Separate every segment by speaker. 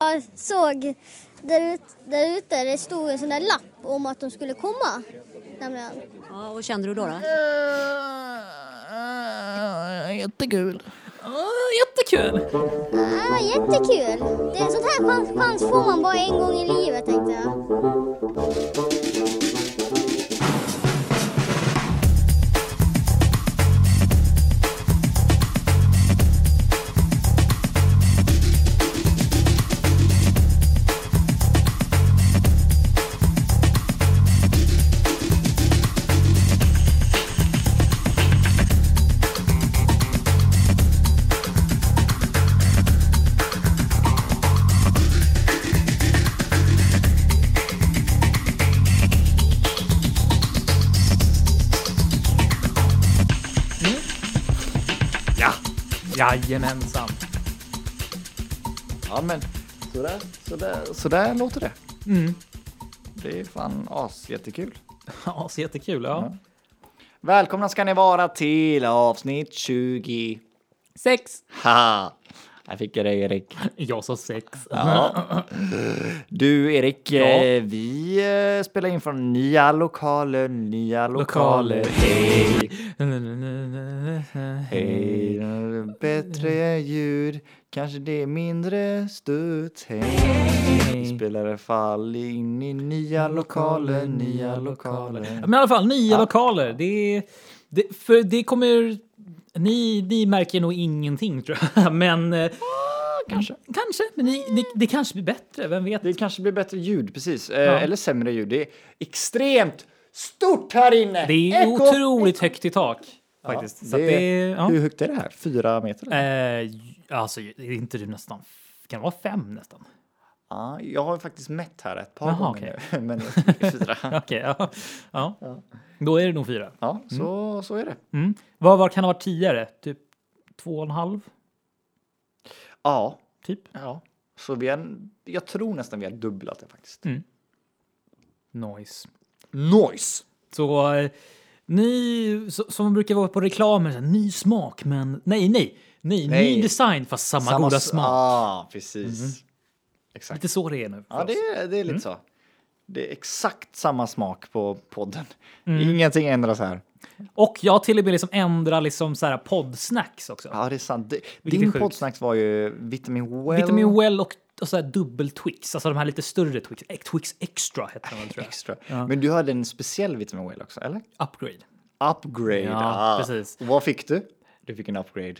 Speaker 1: Jag såg där, ut- där ute, det stod en sån där lapp om att de skulle komma. Nämligen.
Speaker 2: Ja, och vad kände du då? då?
Speaker 3: Eh, Jättekul. Ja, Jättekul.
Speaker 1: Ah, jättekul! Det är en sån här chans, chans får man bara en gång i livet tänkte jag.
Speaker 4: Ja, jajamensan.
Speaker 5: Ja men, sådär, sådär, sådär låter det. Det är fan asjättekul.
Speaker 4: Ja, så jättekul. Ja.
Speaker 5: Välkomna ska ni vara till avsnitt 20.
Speaker 4: Sex.
Speaker 5: Ha! Jag fick jag dig Erik.
Speaker 4: Jag sa sex.
Speaker 5: Ja. Du Erik, eh, vi eh, spelar in från nya lokaler, nya lokaler.
Speaker 4: Lokaler.
Speaker 5: Hej, hej. Bättre ljud, kanske det är mindre studs. Hej. Vi spelar i alla fall in i nya lokaler, nya lokaler.
Speaker 4: Men i alla fall, nya lokaler. Det, är- det, för det kommer... Ni, ni märker nog ingenting, tror jag. Men... eh,
Speaker 5: kanske.
Speaker 4: Kanske. Men ni, ni, det kanske blir bättre. Vem vet?
Speaker 5: Det kanske blir bättre ljud, precis. Eh, Eller sämre ljud. Det är extremt stort här inne!
Speaker 4: Det är
Speaker 5: Eko-
Speaker 4: otroligt högt i tak. Faktiskt. så
Speaker 5: det-
Speaker 4: att det, är- ja.
Speaker 5: Hur högt är det här? Fyra meter? eller?
Speaker 4: Eh, alltså, är inte du nästan... Kan det vara fem nästan?
Speaker 5: Ja, jag har faktiskt mätt här ett par
Speaker 4: Jaha,
Speaker 5: gånger nu.
Speaker 4: okej.
Speaker 5: Men jag tror det är fyra.
Speaker 4: Okej, ja. Ja. Då är det nog fyra.
Speaker 5: Ja, så, så är det.
Speaker 4: Mm. Vad, vad kan det ha varit tidigare? Typ två och en halv?
Speaker 5: Ja,
Speaker 4: Typ?
Speaker 5: ja. Så vi har, jag tror nästan vi har dubblat det faktiskt.
Speaker 4: Noise.
Speaker 5: Noise!
Speaker 4: Så eh, ny, så- som brukar vara på reklamen, så här, ny smak men nej, nej, nej,
Speaker 5: Nej.
Speaker 4: ny design fast samma, goda
Speaker 5: s-
Speaker 4: smak.
Speaker 5: Ja, precis. Exakt.
Speaker 4: Lite så det är nu. för
Speaker 5: Mm-hmm. Ja, det
Speaker 4: oss.
Speaker 5: är, det är lite så. Det är exakt samma smak på podden.
Speaker 4: Mm.
Speaker 5: Ingenting ändras här.
Speaker 4: Och jag har till och med liksom ändrat liksom så här poddsnacks också.
Speaker 5: Ja, det är sant. Det,
Speaker 4: Vilket är
Speaker 5: din
Speaker 4: sjukt.
Speaker 5: poddsnacks var ju Vitamin Well.
Speaker 4: Vitamin Well och, och så här dubbel Twix, alltså de här lite större Twix. Eh, Twix Extra heter de väl, tror jag.
Speaker 5: Extra. Men du hade en speciell Vitamin Well också, eller?
Speaker 4: Upgrade.
Speaker 5: Upgrade.
Speaker 4: Ja, precis.
Speaker 5: Och vad fick du? Du fick en upgrade.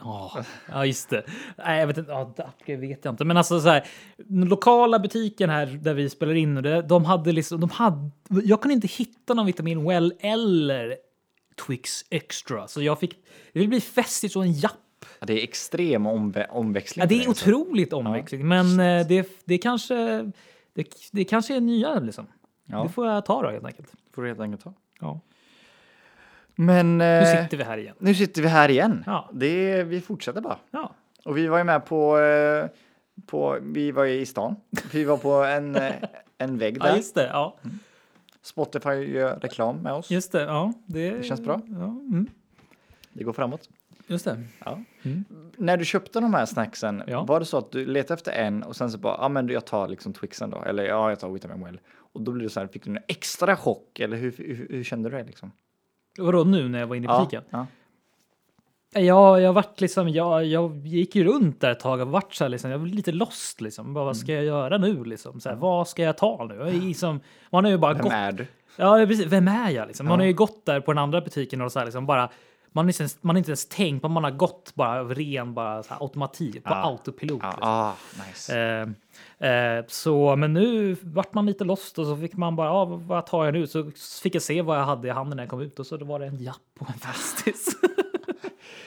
Speaker 4: Ja, ja just det. Nej, jag vet inte. Ja, det vet jag inte. Men alltså så här, den lokala butiken här där vi spelar in, och det, de hade liksom, de hade, jag kunde inte hitta någon Vitamin Well eller Twix Extra. Så jag fick, det blir festigt så en japp.
Speaker 5: Ja, det är extrem omvä- omväxling.
Speaker 4: Ja, det
Speaker 5: på
Speaker 4: är
Speaker 5: den, så-
Speaker 4: otroligt omväxling, men eh, det, det kanske, det, det kanske är nya liksom.
Speaker 5: Ja.
Speaker 4: Det får jag ta då helt enkelt.
Speaker 5: får du helt enkelt ta.
Speaker 4: Ja.
Speaker 5: Men
Speaker 4: Nu
Speaker 5: eh,
Speaker 4: sitter vi här igen.
Speaker 5: nu sitter vi här igen.
Speaker 4: Ja.
Speaker 5: Det är, vi fortsätter bara.
Speaker 4: Ja,
Speaker 5: Och vi var ju med på... eh, på vi var ju i stan. Vi var på en, eh, en vägg
Speaker 4: ja
Speaker 5: där.
Speaker 4: just det. Ja,
Speaker 5: Spotify gör reklam med oss.
Speaker 4: just det. Ja, det,
Speaker 5: Det känns bra.
Speaker 4: Ja, mm,
Speaker 5: Det går framåt.
Speaker 4: just det.
Speaker 5: Ja. När du köpte de här snacksen,
Speaker 4: Ja.
Speaker 5: var det så att du letade efter en och sen så bara, ja ah, men jag tar liksom Twixen då, eller ja, jag tar Vitamin Well. Och då blev det så här, fick du en extra chock, eller hur, hur, hur kände du det liksom?
Speaker 4: Vadå nu när jag var inne i
Speaker 5: Ja,
Speaker 4: butiken?
Speaker 5: ja.
Speaker 4: Jag, jag, vart liksom, jag, jag gick ju runt där ett tag och vart så här liksom, jag var lite lost. Liksom. Bara, vad ska jag göra nu? Liksom? Så här, vad ska jag ta nu? Jag är liksom, man har ju bara
Speaker 5: Vem
Speaker 4: gått.
Speaker 5: är du?
Speaker 4: Ja, precis, vem är jag? Liksom? Man har ju gått där på den andra butiken och så här, liksom, bara, man har inte ens, man har inte ens tänkt, man har gått bara av ren bara, så här, automatik, på
Speaker 5: Ja.
Speaker 4: autopilot.
Speaker 5: Ja,
Speaker 4: liksom.
Speaker 5: ah, nice.
Speaker 4: Eh, eh, så, men nu vart man lite lost och så fick man bara, ah, vad- vad tar jag nu? Så fick jag se vad jag hade i handen när jag kom ut och så då var det en japp och en fastis.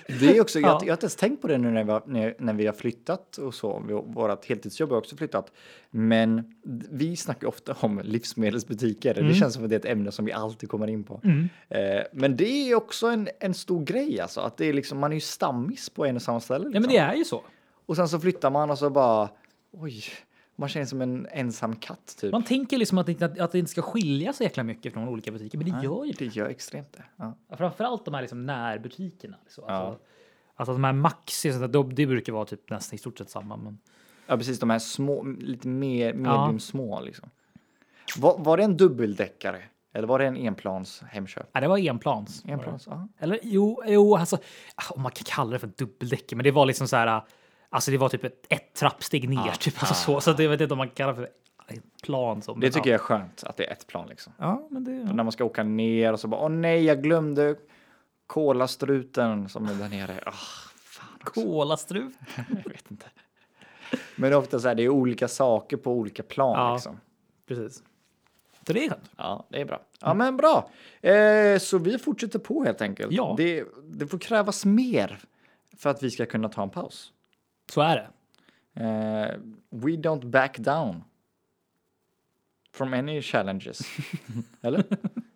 Speaker 5: Det är också, jag,
Speaker 4: Ja.
Speaker 5: jag har inte ens tänkt på det nu när vi har, när, när vi har flyttat och så. Vi, vårt heltidsjobb har också flyttat. Men d- vi snackar ju ofta om livsmedelsbutiker.
Speaker 4: Mm.
Speaker 5: Det känns som att det är ett ämne som vi alltid kommer in på. Eh, men det är också en, en stor grej alltså. Att det är liksom, man är ju stammis på en och samma ställe.
Speaker 4: ja,
Speaker 5: Liksom.
Speaker 4: men det är ju så.
Speaker 5: Och sen så flyttar man och så bara, oj, man känner sig som en ensam katt typ.
Speaker 4: Man tänker liksom att det, inte- att det inte ska skilja så jäkla mycket från olika butiker, men det gör ju det.
Speaker 5: Det gör extremt det. Ja.
Speaker 4: Framförallt de här liksom närbutikerna. Liksom.
Speaker 5: Ja.
Speaker 4: Alltså, alltså de här Maxi, och sånt där, de- det brukar vara typ nästan i stort sett samma. Men...
Speaker 5: Ja, precis. De här små, lite mer
Speaker 4: Ja.
Speaker 5: medium små liksom. Var, var det en dubbeldäckare? Eller var det en enplans Hemköp?
Speaker 4: Ja, det var enplans. var det.
Speaker 5: Enplans, ja.
Speaker 4: Eller jo, jo alltså, ah, om man kan kalla det för dubbeldäck, men det var liksom så här, ah, alltså det var typ ett, ett trappsteg ner,
Speaker 5: Ah.
Speaker 4: typ, alltså, så, så det vet jag inte om man kallar för en plan. Som,
Speaker 5: Det tycker jag är skönt att det är ett plan liksom.
Speaker 4: Ja, men det...
Speaker 5: När man ska åka ner och så bara åh nej, jag glömde kolastruten som är där nere. Ah, fan också.
Speaker 4: Kolastrut.
Speaker 5: Jag vet inte. Men det är ofta så här, det är olika saker på olika plan
Speaker 4: Ja.
Speaker 5: liksom.
Speaker 4: Precis. Så det är skönt.
Speaker 5: Ja, det är bra. Ja, men bra. Eh, så vi fortsätter på helt enkelt.
Speaker 4: Ja.
Speaker 5: Det, det får krävas mer för att vi ska kunna ta en paus.
Speaker 4: Så är det.
Speaker 5: Eh, we don't back down from any challenges. Eller?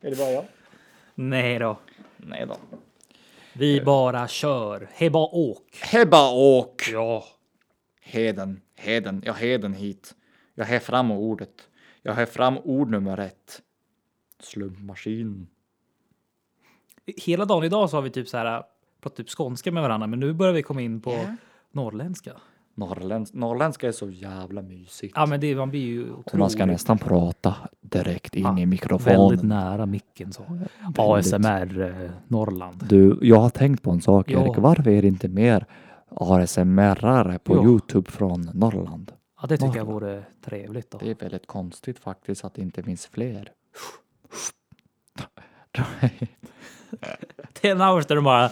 Speaker 5: är det bara jag?
Speaker 4: Nej då.
Speaker 5: Nej då.
Speaker 4: Vi bara kör. Hej, bara åk.
Speaker 5: Hebba åk!
Speaker 4: Ja.
Speaker 5: Heden, heden, jag heden hit. Jag har fram ordet. Jag har fram ord nummer ett. Slummaskin.
Speaker 4: Hela dagen idag så har vi typ så här pratat typ skånska med varandra, men nu börjar vi komma in på norrländska.
Speaker 5: Norrländs- norrländska är så jävla mysigt.
Speaker 4: Ja, men det, man blir ju otroligt.
Speaker 5: Och man ska nästan prata direkt in
Speaker 4: Ja,
Speaker 5: i
Speaker 4: Väldigt
Speaker 5: mikrofonen.
Speaker 4: nära micken så. ASMR eh, Norrland.
Speaker 5: Du, jag har tänkt på en sak
Speaker 4: Ja.
Speaker 5: Erik. Varför är det inte mer ASMR-are på
Speaker 4: Ja.
Speaker 5: Youtube från Norrland?
Speaker 4: Ja, det tycker jag
Speaker 5: Norrland.
Speaker 4: vore trevligt. Då.
Speaker 5: Det är väldigt konstigt faktiskt att det inte finns fler.
Speaker 4: Tena hours där de bara...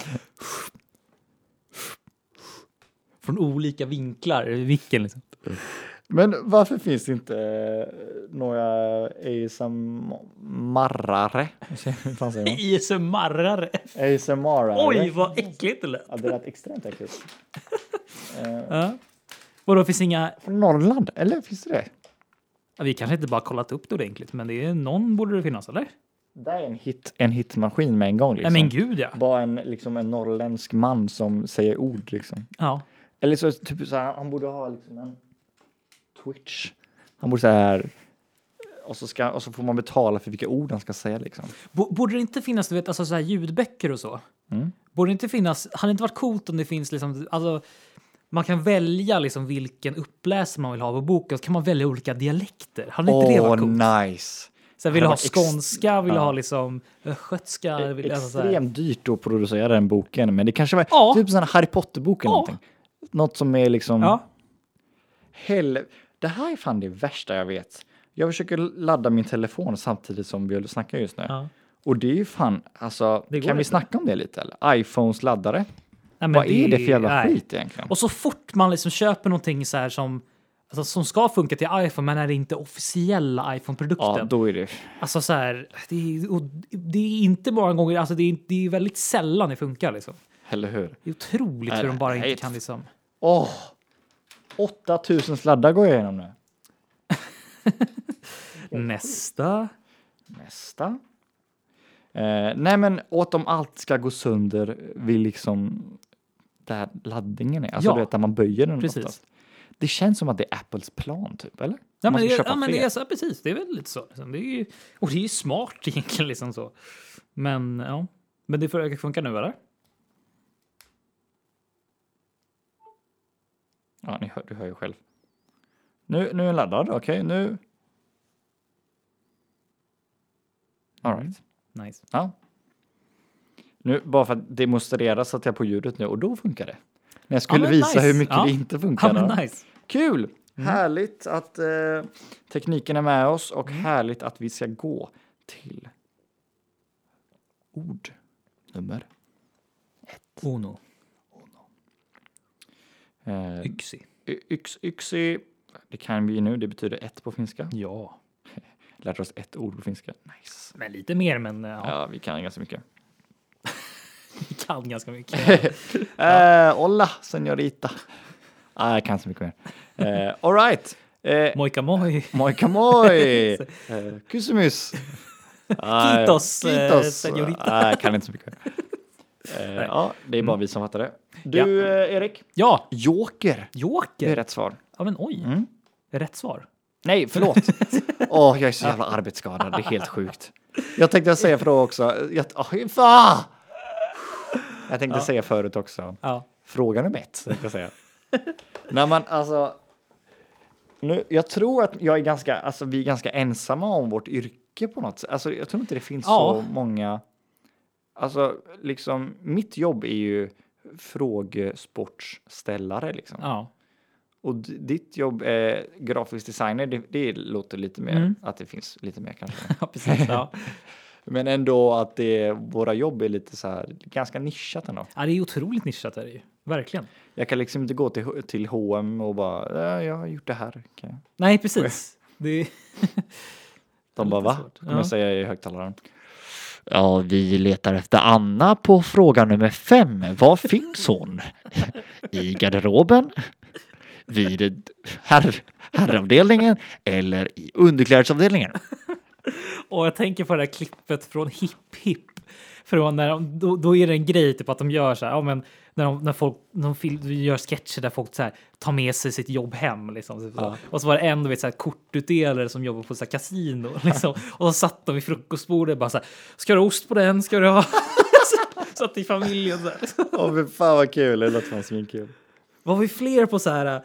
Speaker 4: Från olika vinklar. Vilken liksom.
Speaker 5: Men varför finns det inte eh, några ASMR-are? Hur fan säger man?
Speaker 4: ASMR-are.
Speaker 5: ASMR-are.
Speaker 4: Oj, vad äckligt det lät.
Speaker 5: Ja, det lät extremt äckligt. Eh,
Speaker 4: Ja. Vadå, finns inga...
Speaker 5: Från Norrland? Eller finns det det?
Speaker 4: ja, Vi kanske inte bara kollat upp det ordentligt, men det är någon borde det finnas, eller?
Speaker 5: Där är en, hit, en hitmaskin med en gång. Liksom.
Speaker 4: Nej, men gud ja.
Speaker 5: Bara en, liksom en norrländsk man som säger ord liksom.
Speaker 4: ja.
Speaker 5: Eller så typ så här, han borde ha liksom en Twitch. Han borde så här och så, ska, och så får man betala för vilka ord han ska säga liksom.
Speaker 4: Bo- Borde det inte finnas du vet, alltså så här ljudböcker och så?
Speaker 5: Mm.
Speaker 4: Borde det inte finnas, hade det inte varit coolt om det finns liksom, alltså, man kan välja liksom vilken uppläsare man vill ha på boken, så kan man välja olika dialekter. Hade inte det varit coolt?
Speaker 5: nice!
Speaker 4: Så här, vill du ha
Speaker 5: hade varit ex-
Speaker 4: skånska, vill du
Speaker 5: ja. E-
Speaker 4: ha liksom östgötska? vill- Alltså, så här.
Speaker 5: Extremt dyrt att producera den boken, men det kanske var
Speaker 4: Ja.
Speaker 5: typ en Harry Potter-bok eller
Speaker 4: Ja.
Speaker 5: någonting. Något som är liksom...
Speaker 4: Ja,
Speaker 5: Hel... Det här är fan det värsta jag vet. Jag försöker ladda min telefon samtidigt som vi snackar just nu.
Speaker 4: ja.
Speaker 5: Och det är ju fan, alltså,
Speaker 4: Det går
Speaker 5: kan vi
Speaker 4: inte.
Speaker 5: snacka om det lite eller? iPhones laddare?
Speaker 4: Nej, men
Speaker 5: Vad är det för jävla
Speaker 4: nej.
Speaker 5: skit egentligen?
Speaker 4: Och så fort man liksom köper någonting så här som, alltså, som ska funka till iPhone, men är det inte officiella iPhone-produkten.
Speaker 5: Ja, då är det...
Speaker 4: Alltså så här, det är, och det är inte många gånger, alltså det är, det är väldigt sällan det funkar liksom.
Speaker 5: Eller hur?
Speaker 4: Det är otroligt
Speaker 5: Nej,
Speaker 4: hur de bara
Speaker 5: nej,
Speaker 4: inte
Speaker 5: helt-
Speaker 4: kan liksom.
Speaker 5: Åh! 8000 sladdar går jag igenom nu.
Speaker 4: Nästa.
Speaker 5: Nästa. Eh, nej, men åt om allt ska gå sönder vid liksom där laddningen är. Alltså
Speaker 4: Ja.
Speaker 5: du vet, där man böjer den
Speaker 4: Precis.
Speaker 5: oftast. Det känns som att det är Apples plan typ, eller? Man
Speaker 4: Ja men,
Speaker 5: ska
Speaker 4: det,
Speaker 5: köpa
Speaker 4: ja, men det
Speaker 5: fler.
Speaker 4: är så, precis, det är väl lite så. Liksom. Det är ju, och det är ju smart egentligen liksom så. Men ja, men det försöker funka nu eller?
Speaker 5: Ja, ni hör, du hör ju själv. Nu, nu är den laddad, okej, nu... All right.
Speaker 4: Nice.
Speaker 5: Ja. Nu, bara för att demonstrera satte jag på ljudet nu och då funkar det. När jag skulle
Speaker 4: men
Speaker 5: visa
Speaker 4: nice.
Speaker 5: hur mycket
Speaker 4: Ja.
Speaker 5: det inte funkar.
Speaker 4: Ja men
Speaker 5: då.
Speaker 4: nice. Mm.
Speaker 5: Kul! Härligt att eh, tekniken är med oss och
Speaker 4: Mm.
Speaker 5: härligt att vi ska gå till ord nummer.
Speaker 4: Ono,
Speaker 5: Eh,
Speaker 4: yxi.
Speaker 5: y- yx, yxi, det kan vi nu, det betyder ett på finska.
Speaker 4: Ja,
Speaker 5: Lärde oss ett ord på finska. Nice.
Speaker 4: men lite mer men ja,
Speaker 5: Ja, vi kan ganska mycket.
Speaker 4: vi kan ganska mycket.
Speaker 5: Eh, hola, senorita. Ah, jag kan inte så mycket mer. Eh, all right. Eh,
Speaker 4: Mojka moj.
Speaker 5: Moika moi! Eh, Kusumus! Ah,
Speaker 4: Kitos, eh,
Speaker 5: kitos.
Speaker 4: señorita.
Speaker 5: Ah, jag kan inte så mycket. Eh, ja, det är bara vi som fattar det. Du, eh, Erik.
Speaker 4: Ja,
Speaker 5: Joker. Det är
Speaker 4: joker.
Speaker 5: rätt svar.
Speaker 4: Ja men oj.
Speaker 5: Mm.
Speaker 4: Rätt svar.
Speaker 5: Nej, förlåt. Åh, jag är så jävla arbetsskadad. Det är helt sjukt. Jag tänkte säga för då också. Jag, oh, fan! jag tänkte säga förut också.
Speaker 4: Ja.
Speaker 5: Fråga nummer ett, tänkte jag säga. När man alltså... Nu, jag tror att jag är ganska, alltså, vi är ganska ensamma om vårt yrke på något sätt. Alltså, jag tror inte det finns
Speaker 4: Ja.
Speaker 5: så många. Alltså, liksom, mitt jobb är ju frågesportsställare. Liksom.
Speaker 4: Ja.
Speaker 5: Och d- ditt jobb är grafisk designer. Det, det låter lite mer
Speaker 4: Mm.
Speaker 5: att det finns lite mer kanske.
Speaker 4: ja, precis. Ja.
Speaker 5: Men ändå att det, våra jobb är lite så här, ganska nischat ändå.
Speaker 4: ja, det är otroligt nischat. Är det ju. Verkligen.
Speaker 5: Jag kan liksom inte gå till, H- till H&M och bara, "Ja, jag har gjort det här. Kan jag?
Speaker 4: Nej, precis. Det är...
Speaker 5: De
Speaker 4: Det
Speaker 5: bara,
Speaker 4: är lite
Speaker 5: va?
Speaker 4: svårt.
Speaker 5: Kommer
Speaker 4: Ja.
Speaker 5: jag säga i högtalaren. Ja, vi letar efter Anna på fråga nummer fem. Var finns hon? I garderoben? Vid herr, herravdelningen? Eller i underklädesavdelningen?
Speaker 4: Och jag tänker på det här klippet från Hipp Hipp. Från när de, då, då är det en grej typ att de gör så här, ja, men när, de, när folk de fil, gör sketcher där folk så här, tar med sig sitt jobb hem. Liksom, typ så. Och så var det en du vet, så här, kortutdelare som jobbar på så här, kasino. Liksom. Och så satt de vid frukostbordet bara så här, ska du ha ost på den? Ska du ha? satt i familjen så här.
Speaker 5: Åh, men fan vad kul. Det låter fan svinkul.
Speaker 4: Vad har vi fler på så här? eh,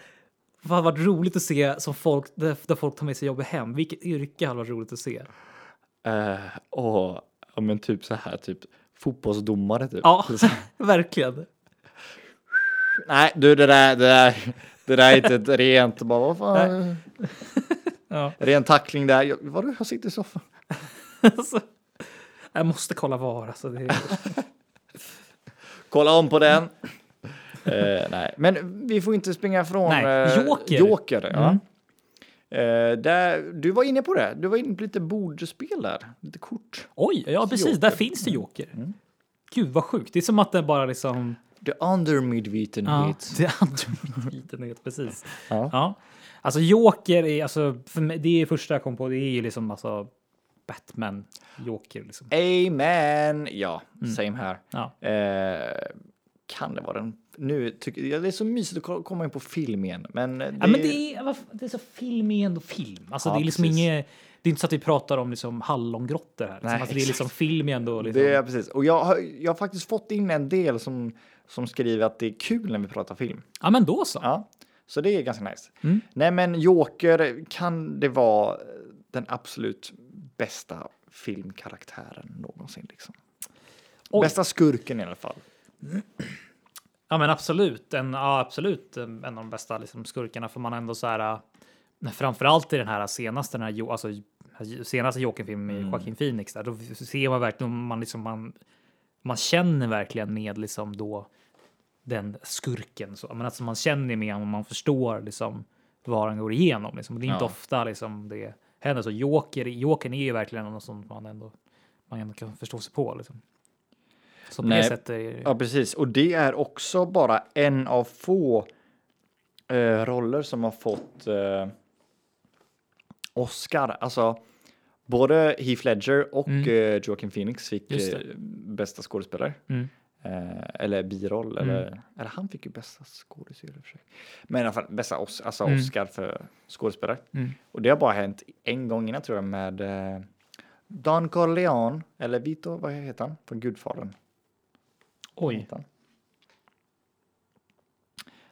Speaker 4: Vad har varit roligt att se som folk, där, där folk tar med sig jobbet hem? Vilket yrke hade varit roligt att se?
Speaker 5: Eh, åh, ja, men typ så här, typ fotbollsdomare typ.
Speaker 4: Ja, verkligen.
Speaker 5: Nej, du det där, det där, det där är inte ett rent, bara vad fan.
Speaker 4: Ja.
Speaker 5: Ren tackling där. Jag, vadå, jag sitter i soffan.
Speaker 4: Alltså, jag måste kolla VAR. Alltså, det är...
Speaker 5: Kolla om på den. Eh, nej, men vi får inte springa ifrån
Speaker 4: Nej,
Speaker 5: eh,
Speaker 4: Joker. Mm.
Speaker 5: Joker, ja. Eh, där, du var inne på det. Du var inne på lite bordspel där. Lite kort.
Speaker 4: Oj, ja precis. Där finns det Joker. Gud vad sjukt. Det är som att den bara liksom...
Speaker 5: The under midvetenhet.
Speaker 4: det är antimedeltiden, precis.
Speaker 5: Ja.
Speaker 4: Ja. Alltså Joker är, alltså, för mig, det är första jag kom på, det är ju liksom alltså Batman, Joker liksom.
Speaker 5: Amen. Ja, same här.
Speaker 4: Mm. Ja.
Speaker 5: Eh, kan det vara den? Nu tycker jag det är så mysigt att ko- komma in på film igen, men det,
Speaker 4: Ja, men det är, varför- det är så, film är ändå film. Alltså,
Speaker 5: Ja,
Speaker 4: det, är liksom
Speaker 5: precis.
Speaker 4: inget, det är inte så att vi pratar om liksom hallongrottor här. Liksom.
Speaker 5: Nej,
Speaker 4: alltså, det är liksom film är ändå. Liksom.
Speaker 5: Det är precis. Och jag har, jag har faktiskt fått in en del som, som skriver att det är kul när vi pratar film.
Speaker 4: Ja, men då så.
Speaker 5: Ja, så det är ganska nice.
Speaker 4: Mm.
Speaker 5: Nej, men Joker kan det vara den absolut bästa filmkaraktären någonsin. Liksom.
Speaker 4: Oj.
Speaker 5: Bästa skurken i alla fall.
Speaker 4: Ja men absolut, en, ja, absolut eh, en av de bästa liksom, skurkarna får man ändå så här. äh, Framförallt i den här senaste, den här, Jo- alltså, senaste Joker-filmen med
Speaker 5: Mm.
Speaker 4: Joaquin Phoenix, där, då ser man verkligen, man, liksom, man, man känner verkligen med liksom då den skurken. Så, men alltså, man känner med honom, man förstår liksom vad han går igenom. Liksom. Det är inte
Speaker 5: Ja.
Speaker 4: ofta liksom, det händer. Så Joker, Jokern är ju verkligen något som man ändå, man ändå kan förstå sig på. Liksom. Så på
Speaker 5: Nej.
Speaker 4: det sättet är det,
Speaker 5: Ja, precis. Och det är också bara en av få eh, roller som har fått eh, Oscar. Alltså, både Heath Ledger och
Speaker 4: Mm.
Speaker 5: eh, Joaquin Phoenix fick
Speaker 4: Just det.
Speaker 5: eh, bästa skådespelare.
Speaker 4: Mm.
Speaker 5: Eh, eller biroll, eller, eller han fick ju bästa skådespelare. i och för sig. Men i alla fall bästa os, alltså
Speaker 4: Mm.
Speaker 5: Oscar för skådespelare.
Speaker 4: Mm.
Speaker 5: Och det har bara hänt en gång innan tror jag med eh, Don Corleone, eller Vito, vad heter han? Från Gudfadern.
Speaker 4: Oj.
Speaker 5: Heter han.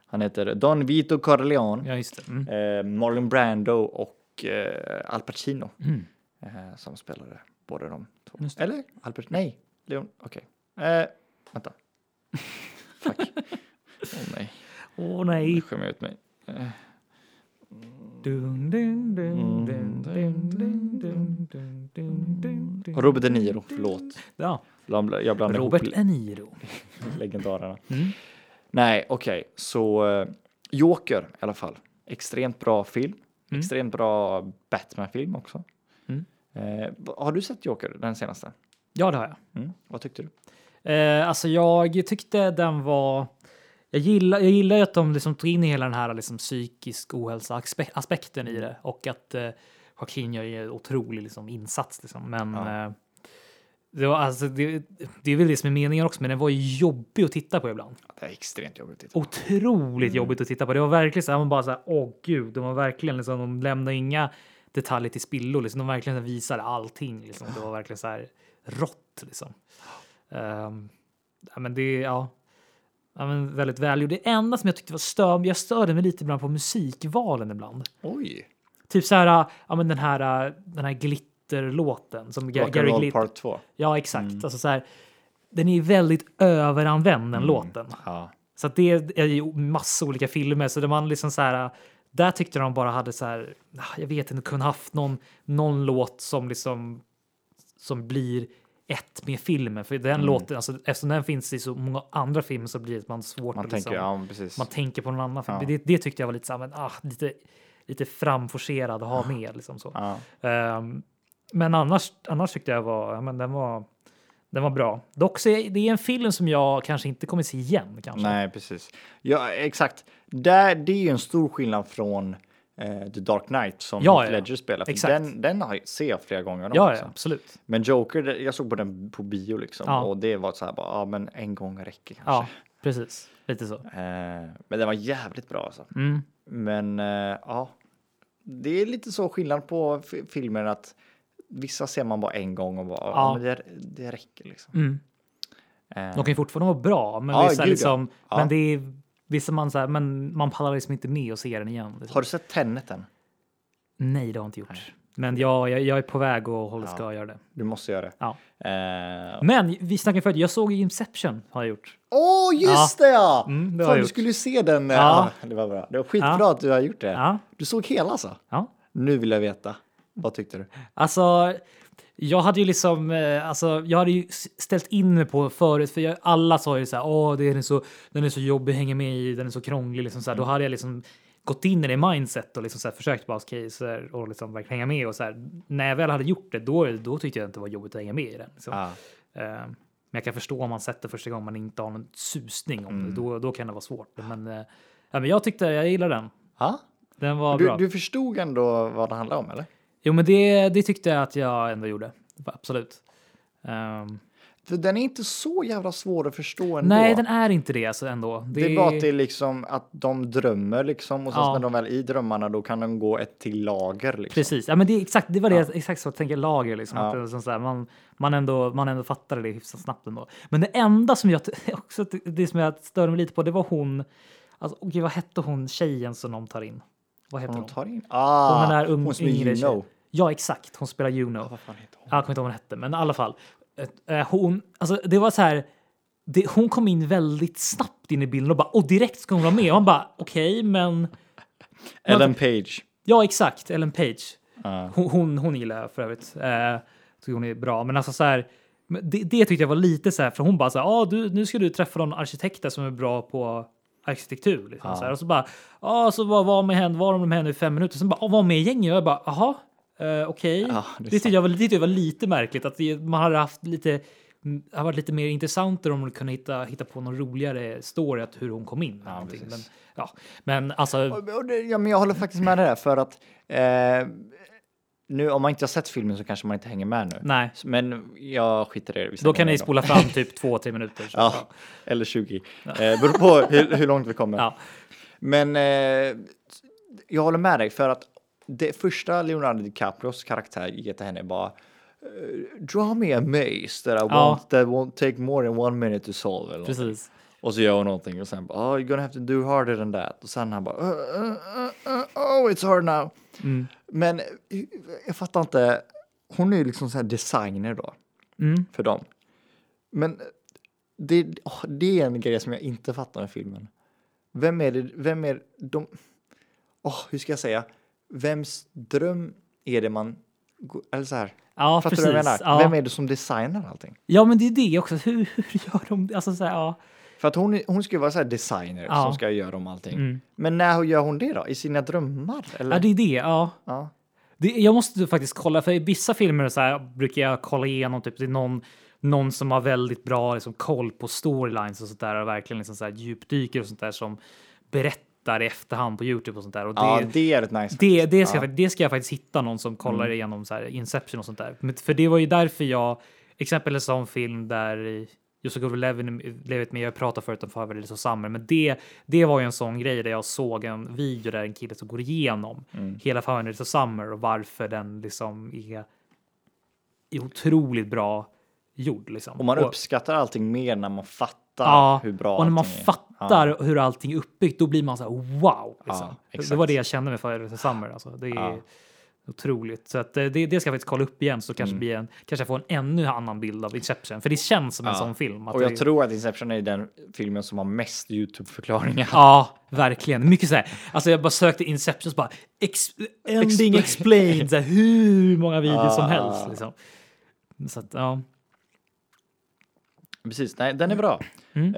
Speaker 5: han heter Don Vito Corleone,
Speaker 4: Ja, just det. Mm.
Speaker 5: eh, Marlon Brando och eh, Al Pacino
Speaker 4: Mm.
Speaker 5: eh, som spelade både de två.
Speaker 4: Just det.
Speaker 5: Eller Al Pacino, nej, Leon, okej. Eh, vänta. Fuck. Åh nej,
Speaker 4: Åh
Speaker 5: nu
Speaker 4: nej.
Speaker 5: skämmer jag ut mig. Eh,
Speaker 4: Dun, dun, dun, dun, dun, dun, dun, dun, dun, dun.
Speaker 5: Robert De Niro, förlåt.
Speaker 4: Ja,
Speaker 5: Jag blandade ihop
Speaker 4: Robert Eniro.
Speaker 5: legendarerna.
Speaker 4: Mm.
Speaker 5: Nej, okej, så eh, Joker i alla fall. Extremt bra film.
Speaker 4: Mm.
Speaker 5: Extremt bra Batman-film också.
Speaker 4: Mm.
Speaker 5: Eh, va- har du sett Joker, den senaste?
Speaker 4: Ja, det har jag.
Speaker 5: Mm. Vad tyckte du?
Speaker 4: Eh, alltså, jag tyckte den var... Jag gillar, jag gillar ju att de liksom tog in hela den här liksom psykisk ohälsa-aspekten i det och att eh, Joaquin gör ju en otrolig liksom, insats. Liksom. Men
Speaker 5: Ja.
Speaker 4: eh, det, var, alltså, det, det är väl det som är meningen också, men den var ju jobbig att titta på ibland.
Speaker 5: Ja, Det är extremt jobbigt att
Speaker 4: Oh.
Speaker 5: titta på.
Speaker 4: otroligt jobbigt att titta på. Det var verkligen så här, man bara så här, åh gud, de var verkligen liksom, de lämnade inga detaljer till spillo, liksom. de verkligen visade allting. Liksom. Det var verkligen så här rått liksom. Ehm, ja, men det, ja. Ja, men väldigt välgjord. Det enda som jag tyckte var stör, jag störde mig lite ibland på musikvalen ibland.
Speaker 5: Oj.
Speaker 4: Typ så här, äh, ja men den här, äh, den här glitterlåten som Ga- Gary
Speaker 5: Rock'n'roll
Speaker 4: Glitter.
Speaker 5: part 2.
Speaker 4: Ja, exakt. Alltså så här, den är väldigt överanvänd, den låten.
Speaker 5: Ja.
Speaker 4: Så att det är i massa olika filmer. Så det man liksom så här, där tyckte de bara hade så här, ah, jag vet inte, kunde haft någon, någon låt som liksom som blir ett med filmen. För den
Speaker 5: Mm.
Speaker 4: låten, alltså, eftersom den finns i så många andra filmer så blir det man svårt
Speaker 5: Man
Speaker 4: att
Speaker 5: tänker,
Speaker 4: liksom,
Speaker 5: ja men precis.
Speaker 4: man tänker på någon annan film.
Speaker 5: Ja.
Speaker 4: Det, det tyckte jag var lite, så här, men, ah, lite, lite framforcerad att ha med. Liksom så.
Speaker 5: Ah. ja.
Speaker 4: Ehm, men annars, annars tyckte jag var, ja, men den var, den var bra. Dock så är det är en film som jag kanske inte kommer se igen. Kanske.
Speaker 5: Nej, precis. Ja, exakt. Där, det är ju en stor skillnad från eh, The Dark Knight som
Speaker 4: Ja,
Speaker 5: Heath
Speaker 4: ja,
Speaker 5: Ledger spelar. För
Speaker 4: exakt.
Speaker 5: den, den har, jag- ser jag flera gånger om
Speaker 4: Ja,
Speaker 5: också.
Speaker 4: ja, absolut.
Speaker 5: Men Joker, det- jag såg på den på bio liksom
Speaker 4: Ja.
Speaker 5: och det var så här bara, ja men en gång räcker kanske.
Speaker 4: Ja, precis. Lite så.
Speaker 5: Eh, men den var jävligt bra alltså.
Speaker 4: Mm.
Speaker 5: Men eh, ja, det är lite så skillnad på f- filmer att vissa ser man bara en gång och bara, ja,
Speaker 4: Ja.
Speaker 5: men det, det räcker liksom.
Speaker 4: Mm.
Speaker 5: Eh,
Speaker 4: De kan ju fortfarande vara bra, men,
Speaker 5: Ja,
Speaker 4: vissa,
Speaker 5: gud, ja.
Speaker 4: liksom,
Speaker 5: Ja.
Speaker 4: men det är vissa man så här, men man pallar liksom inte med och ser den igen. Liksom.
Speaker 5: Har du sett Tenet än?
Speaker 4: Nej, det har jag inte gjort. Men jag, jag, jag är på väg och håller, ska
Speaker 5: Ja.
Speaker 4: göra det.
Speaker 5: Du måste göra det.
Speaker 4: Ja.
Speaker 5: Eh,
Speaker 4: Men vi snackade förut, jag såg Inception har jag gjort.
Speaker 5: Åh, just det ja!
Speaker 4: Mm, det
Speaker 5: Fan,
Speaker 4: har jag
Speaker 5: du
Speaker 4: gjort.
Speaker 5: skulle ju se den. eh, Ja.
Speaker 4: Ja.
Speaker 5: det var bra. Det var skitbra
Speaker 4: Ja.
Speaker 5: att du har gjort det.
Speaker 4: Ja.
Speaker 5: Du såg hela alltså?
Speaker 4: Ja.
Speaker 5: Nu vill jag veta. Vad tyckte du?
Speaker 4: Alltså, jag hade ju liksom, eh, alltså, jag hade ju s- ställt in mig på förut, för jag, alla sa ju så här, åh, den är så, den är så jobbig, hänger med i, den är så krånglig, liksom så här.
Speaker 5: Mm.
Speaker 4: Då hade jag liksom gått in i det mindset och liksom så här, försökt bara okej, så här, och liksom verkligen hänga med och så här. När jag väl hade gjort det, då, då tyckte jag inte det var jobbigt att hänga med i den. Liksom.
Speaker 5: Ja.
Speaker 4: Eh, Men jag kan förstå om man sätter första gången man inte har någon susning om
Speaker 5: Mm.
Speaker 4: det, då, då kan det vara svårt. Men, eh, ja, men jag tyckte, jag gillar den.
Speaker 5: Ja.
Speaker 4: Den var
Speaker 5: Du,
Speaker 4: bra.
Speaker 5: du förstod ändå vad det handlade om eller?
Speaker 4: Jo, men det, det tyckte jag att jag ändå gjorde. Absolut. Ehm,
Speaker 5: För den är inte så jävla svår att förstå ändå.
Speaker 4: nej, den är inte det alltså ändå.
Speaker 5: det... är bara att det är liksom att de drömmer liksom och sen
Speaker 4: Ja.
Speaker 5: när de väl är i drömmarna då kan de gå ett till lager. Liksom.
Speaker 4: Precis, ja, men det, är exakt, det var det, exakt så jag tänker lager. Liksom,
Speaker 5: Ja.
Speaker 4: att det är sånt där, man, man, ändå, man ändå fattade det hyfsat snabbt ändå. Men det enda som jag t- också ty- det som jag störde mig lite på, det var hon. Alltså, åh gud, vad hette hon tjejen som de tar in? Vad heter
Speaker 5: De
Speaker 4: hon?
Speaker 5: tar in. Ah,
Speaker 4: hon den där
Speaker 5: hon
Speaker 4: un-
Speaker 5: som är
Speaker 4: yngre
Speaker 5: Juno.
Speaker 4: tjejen. Ja, exakt. Hon spelar Juno.
Speaker 5: Vad fan heter hon?
Speaker 4: Jag kommer inte ihåg vad hon hette, men i alla fall. Eh, eh, Hon, alltså det var så här. Det, hon kom in väldigt snabbt in i bilden och bara och direkt ska hon vara med. Och man bara okej, men
Speaker 5: Ellen Page. Ah.
Speaker 4: ja, exakt. Ellen Page.
Speaker 5: Ja.
Speaker 4: Hon, hon, hon gillar jag för övrigt. Eh, tycker hon är bra, men alltså så här. men Det, det tyckte jag var lite så här för hon bara så här. Ah, du, nu ska du träffa någon arkitekt där som är bra på arkitektur. Liksom, så här. Och så bara ja, så var, var med henne, var med henne i fem minuter. Sen bara ah, var med i gänget och jag bara jaha, eh, okej.
Speaker 5: Ja, det är
Speaker 4: det, tyckte jag var, det tyckte jag var lite märkligt att det, man hade haft lite mm, hade varit lite mer intressantare om man kunde hitta, hitta på någon roligare story att hur hon kom in. eller någonting. men,
Speaker 5: precis.
Speaker 4: ja. men alltså,
Speaker 5: Och- och det- Ja, men jag håller faktiskt med dig där för att eh, nu om man inte har sett filmen så kanske man inte hänger med nu.
Speaker 4: nej.
Speaker 5: S- Men jag skiter i det. Vi
Speaker 4: Då
Speaker 5: stänger
Speaker 4: kan
Speaker 5: ner
Speaker 4: ni spola fram typ två, tre minuter. Så.
Speaker 5: Ja, eller 20. Eh, beror på hur, hur långt vi kommer.
Speaker 4: Ja.
Speaker 5: Men eh, jag håller med dig för att det första Leonardo DiCaprios karaktär ger till henne bara eh, Draw me a maze that I
Speaker 4: Ja.
Speaker 5: want that won't take more than one minute to solve. Eller något.
Speaker 4: Precis.
Speaker 5: Och så gör hon någonting och sen bara oh, you're gonna have to do harder than that. Och sen han bara uh, uh, uh, uh, oh it's hard now.
Speaker 4: Mm.
Speaker 5: Men eh, jag fattar inte. Hon är ju liksom så här designer då
Speaker 4: Mm.
Speaker 5: för dem. Men det, åh, det är en grej som jag inte fattar med filmen. Vem är det, vem är de, åh, hur ska jag säga, vems dröm är det man, går- eller så här,
Speaker 4: Ja,
Speaker 5: fattar du vad jag
Speaker 4: precis.
Speaker 5: menar?
Speaker 4: Ja.
Speaker 5: Vem är det som designar allting?
Speaker 4: ja, men det är det också. Hur, hur gör de det? Alltså, så här, ja.
Speaker 5: För att hon, är- hon ska ju vara så här designer
Speaker 4: Ja.
Speaker 5: som ska göra om allting.
Speaker 4: Mm.
Speaker 5: Men när gör hon det då? I sina drömmar? Eller?
Speaker 4: ja, det är det. Ja.
Speaker 5: ja.
Speaker 4: Det, jag måste faktiskt kolla, för i vissa filmer så här, brukar jag kolla igenom typ, det är någon, någon som har väldigt bra liksom, koll på storylines och sånt där och verkligen liksom, så här, djupdyker och sånt där som berättar i efterhand på Youtube och sånt där. Och det,
Speaker 5: ja, det är rätt nice.
Speaker 4: Det, det, ska
Speaker 5: Ja. Mm.
Speaker 4: jag, fakt- det ska jag faktiskt hitta någon som kollar igenom så här Inception och sånt där. Men- För det var ju därför jag, exempel en sån film där Josef Levin levit med, jag pratade förut om Favorites och Summer, men det, det var ju en sån grej där jag såg en video där en kille som går igenom
Speaker 5: Mm.
Speaker 4: hela Favorites och Summer och varför den liksom är, är otroligt bra gjord. Liksom.
Speaker 5: Och man uppskattar allting mer när man fattar
Speaker 4: ja,
Speaker 5: hur bra
Speaker 4: och när man
Speaker 5: allting är.
Speaker 4: fattar fattar hur allting är uppbyggt, då blir man så här wow. Liksom.
Speaker 5: Ja,
Speaker 4: Det- det
Speaker 5: exakt.
Speaker 4: var det jag kände mig för The Summer. Alltså. Det är
Speaker 5: Ja.
Speaker 4: otroligt. Så att, eh, det, det ska jag faktiskt kolla upp igen så kanske,
Speaker 5: Mm.
Speaker 4: blir en, kanske jag får en ännu annan bild av Inception. För det känns som en
Speaker 5: Ja.
Speaker 4: sån film. att
Speaker 5: Och jag
Speaker 4: det,
Speaker 5: tror att Inception är den filmen som har mest YouTube-förklaringar.
Speaker 4: Ja, verkligen. Mycket så här. Alltså jag bara sökte Inception så bara ex, ending
Speaker 5: Explain.
Speaker 4: explained. Så här, hur många videor som
Speaker 5: Ah.
Speaker 4: helst. Liksom. Så att, ja.
Speaker 5: Precis, nej, den är bra.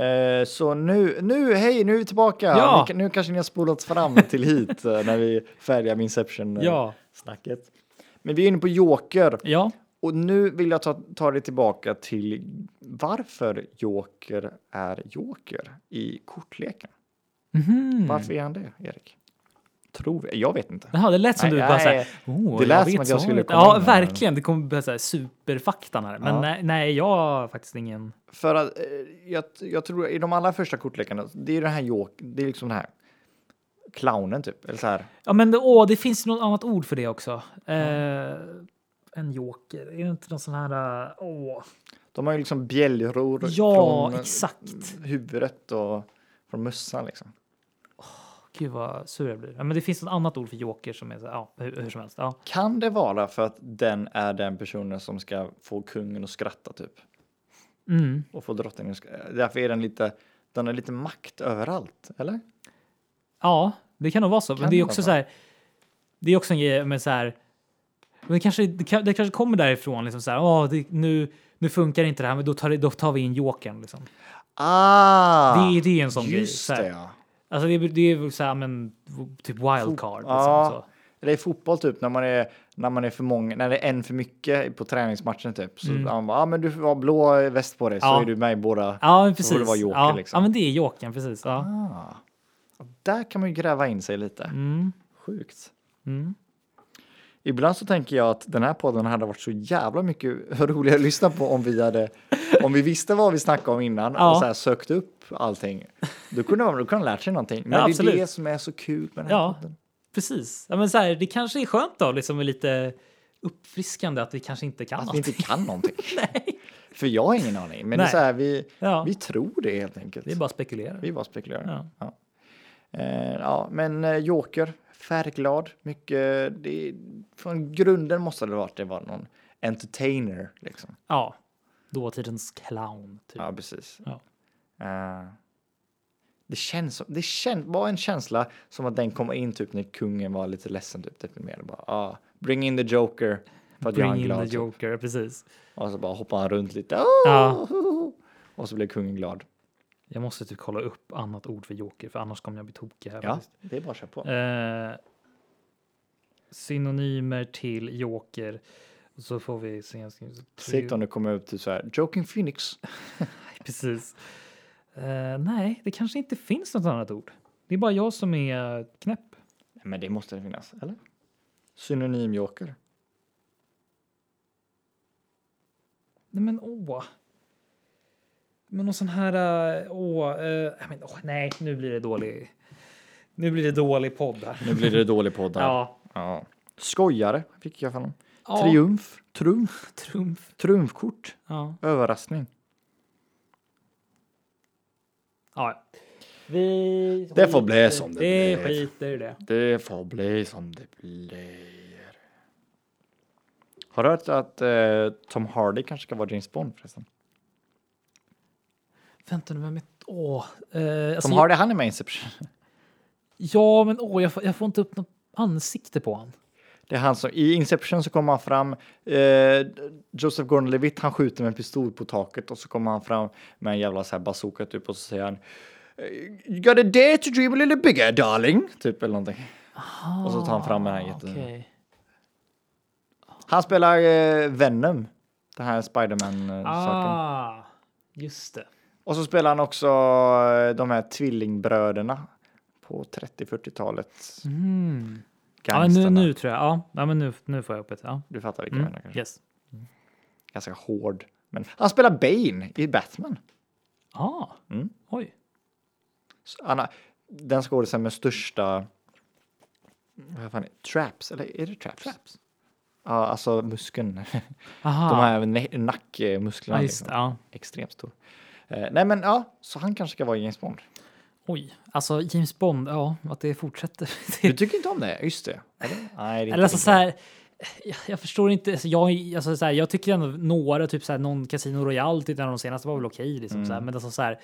Speaker 5: Eh, så nu, nu, hej, nu är vi tillbaka.
Speaker 4: Mm. Ja.
Speaker 5: Nu, nu kanske ni har spolats fram till hit eh, när vi är färdiga med
Speaker 4: Ja.
Speaker 5: Inception-snacket. Men vi är inne på Joker
Speaker 4: ja.
Speaker 5: och nu vill jag ta, ta dig tillbaka till varför Joker är Joker i kortleken.
Speaker 4: Mhm.
Speaker 5: Varför är han det, Erik? Tror jag. Jag vet inte.
Speaker 4: Jaha, det lät som
Speaker 5: Nej,
Speaker 4: du bara
Speaker 5: nej.
Speaker 4: såhär, oh,
Speaker 5: Det lät
Speaker 4: jag vet
Speaker 5: som att jag skulle
Speaker 4: svaret."
Speaker 5: komma
Speaker 4: Ja,
Speaker 5: in här.
Speaker 4: verkligen. Det kommer bli så här superfaktan här. Men
Speaker 5: Ja.
Speaker 4: nej, nej, jag har faktiskt ingen.
Speaker 5: För att eh, jag, jag tror i de allra första kortlekarna, det är den här Joker, det är liksom den här clownen typ. Eller så här.
Speaker 4: Ja, men det- åh, det finns något annat ord för det också. Eh, en joker. Är det inte någon sån här... eh, Åh.
Speaker 5: De har ju liksom bjällror
Speaker 4: Ja,
Speaker 5: från
Speaker 4: exakt.
Speaker 5: huvudet och från mössan liksom.
Speaker 4: Gud vad sur jag blir. Ja, men det finns något annat ord för joker som är så här, ja, hur, hur som helst. Ja.
Speaker 5: Kan det vara för att den är den personen som ska få kungen att skratta typ?
Speaker 4: Mm.
Speaker 5: Och få drottningen att skratta. Därför är den lite, den har lite makt överallt, eller?
Speaker 4: Ja, det kan nog vara så.
Speaker 5: Kan
Speaker 4: men det är
Speaker 5: det
Speaker 4: också
Speaker 5: vara
Speaker 4: så här. Det är också en grej med så här. Men det kanske, det, kan- det kanske kommer därifrån liksom så här. Åh, det, nu, nu funkar inte det här, men då tar, det- då tar vi in jokern liksom.
Speaker 5: Ah!
Speaker 4: Det, det är en sån grej.
Speaker 5: Just
Speaker 4: Så här.
Speaker 5: det ja.
Speaker 4: Alltså det, är- det är väl så här, men typ wildcard. Liksom,
Speaker 5: Ja.
Speaker 4: så.
Speaker 5: Eller i fotboll typ när man är när man är för många, när det är en för mycket på träningsmatchen typ. Så han bara, ah, men du får ha blå eh, väst på dig så
Speaker 4: Mm. Ja.
Speaker 5: är du med i båda.
Speaker 4: ja, men
Speaker 5: Så
Speaker 4: precis.
Speaker 5: får det vara joker,
Speaker 4: ja.
Speaker 5: liksom.
Speaker 4: ja, men det är jokern, precis. Ja.
Speaker 5: Ah. Där kan man ju gräva in sig lite.
Speaker 4: Mm.
Speaker 5: Sjukt.
Speaker 4: Mm.
Speaker 5: Ibland så tänker jag att den här podden hade varit så jävla mycket roligare att lyssna på om vi hade, om vi visste vad vi snackade om innan
Speaker 4: Ja.
Speaker 5: och så här sökt upp allting. Då kunde man, då kunde man lärt sig någonting. Men
Speaker 4: Ja,
Speaker 5: det
Speaker 4: absolut.
Speaker 5: är det som är så kul med den här
Speaker 4: Ja.
Speaker 5: podden.
Speaker 4: Precis. Ja, men så här, det kanske är skönt då, liksom med lite uppfriskande att vi kanske inte kan
Speaker 5: Att vi
Speaker 4: allt.
Speaker 5: inte kan någonting. För jag har ingen aning. Men det
Speaker 4: Nej.
Speaker 5: är så här, vi,
Speaker 4: Ja.
Speaker 5: vi tror det helt enkelt.
Speaker 4: Det är bara att spekulera.
Speaker 5: Vi bara spekulerar.
Speaker 4: Ja.
Speaker 5: Ja. Ja. Eh, ja, men eh, Joker, färgglad, mycket. Det, från grunden måste det varit det var någon entertainer liksom.
Speaker 4: Ja. Dåtidens clown, typ.
Speaker 5: Ja, precis.
Speaker 4: Ja.
Speaker 5: Eh, det känns som, det känns, var en känsla som att den kom in typ när kungen var lite ledsen, typ deprimerad. Bara, ah, bring in the Joker. För att göra
Speaker 4: Bring
Speaker 5: han
Speaker 4: in
Speaker 5: glad.
Speaker 4: the
Speaker 5: typ.
Speaker 4: joker, precis.
Speaker 5: Och så bara hoppar han runt lite. "Ah,
Speaker 4: Ja.
Speaker 5: Och så blev kungen glad.
Speaker 4: Jag måste typ kolla upp annat ord för joker, för annars kommer jag bli tokig här.
Speaker 5: Ja,
Speaker 4: faktiskt.
Speaker 5: det är bara att köra på.
Speaker 4: Eh, synonymer till joker. Och så får vi se.
Speaker 5: Segt om det kommer upp till så här, Joking Phoenix.
Speaker 4: Precis. Eh, nej, det kanske inte finns något annat ord. Det är bara jag som är knäpp.
Speaker 5: Nej, Men det måste det finnas, eller? Synonym Joker.
Speaker 4: Nej men åh. Men någon sån här... eh, Åh, eh, nej, men, åh, nej, nu blir det dålig. Nu blir det dålig podd här.
Speaker 5: Nu blir det dålig podd här.
Speaker 4: Ja,
Speaker 5: Ja. Skojare fick jag från
Speaker 4: Ja.
Speaker 5: Triumf, trumf,
Speaker 4: trumf.
Speaker 5: trumfkort,
Speaker 4: Ja.
Speaker 5: överraskning.
Speaker 4: ja. ja. Vi
Speaker 5: Det får bli
Speaker 4: skiter-
Speaker 5: som det
Speaker 4: Det
Speaker 5: blir.
Speaker 4: skiter i det.
Speaker 5: Det får bli som det blir. Har du hört att eh, Tom Hardy kanske ska vara James Bond förresten?
Speaker 4: Vänta nu, vem är... Åh. Eh, alltså,
Speaker 5: Tom Hardy, han är med i Inception.
Speaker 4: Ja, men åh, jag får, jag får inte upp något ansikte på honom.
Speaker 5: Det är han som, i Inception så kommer han fram, eh, Joseph Gordon-Levitt han skjuter med en pistol på taket och så kommer han fram med en jävla så här bazooka typ och så säger han eh, You gotta dare to dream a little bigger darling, typ eller någonting. Och så tar han fram den här jätten.
Speaker 4: Ah, Okej.
Speaker 5: Han spelar eh, Venom, den här Spiderman-saken.
Speaker 4: Ah, just det.
Speaker 5: Och så spelar han också eh, de här tvillingbröderna på 30-40-talet.
Speaker 4: Mm. Ja, men nu,
Speaker 5: Gangsterna.
Speaker 4: nu tror jag. Ja, ja men nu, nu får jag upp det. Ja.
Speaker 5: Du fattar vilka jag
Speaker 4: Mm.
Speaker 5: menar kanske.
Speaker 4: Yes.
Speaker 5: Ganska hård. Men han spelar Bane i Batman.
Speaker 4: Ah.
Speaker 5: Mm.
Speaker 4: Oj.
Speaker 5: Så Han har, den skådisen med största... Vad fan är det? Traps? Eller är det traps?
Speaker 4: Traps.
Speaker 5: Ja, alltså muskeln.
Speaker 4: Aha.
Speaker 5: De här ne- nackmusklerna.
Speaker 4: ja, just,
Speaker 5: liksom.
Speaker 4: det, ja.
Speaker 5: Extremt stor. Eh, nej men ja, så han kanske ska vara James Bond.
Speaker 4: Oj, alltså James Bond, ja, att det fortsätter.
Speaker 5: Du tycker inte om det? Just det. Eller? Nej, det är
Speaker 4: Eller
Speaker 5: inte
Speaker 4: alltså så här, jag, jag förstår inte. Alltså, jag, alltså, så här, jag tycker ändå några, typ så här, någon Casino Royale, tyckte jag de senaste var väl okej. liksom,
Speaker 5: Mm.
Speaker 4: så här, men alltså så här,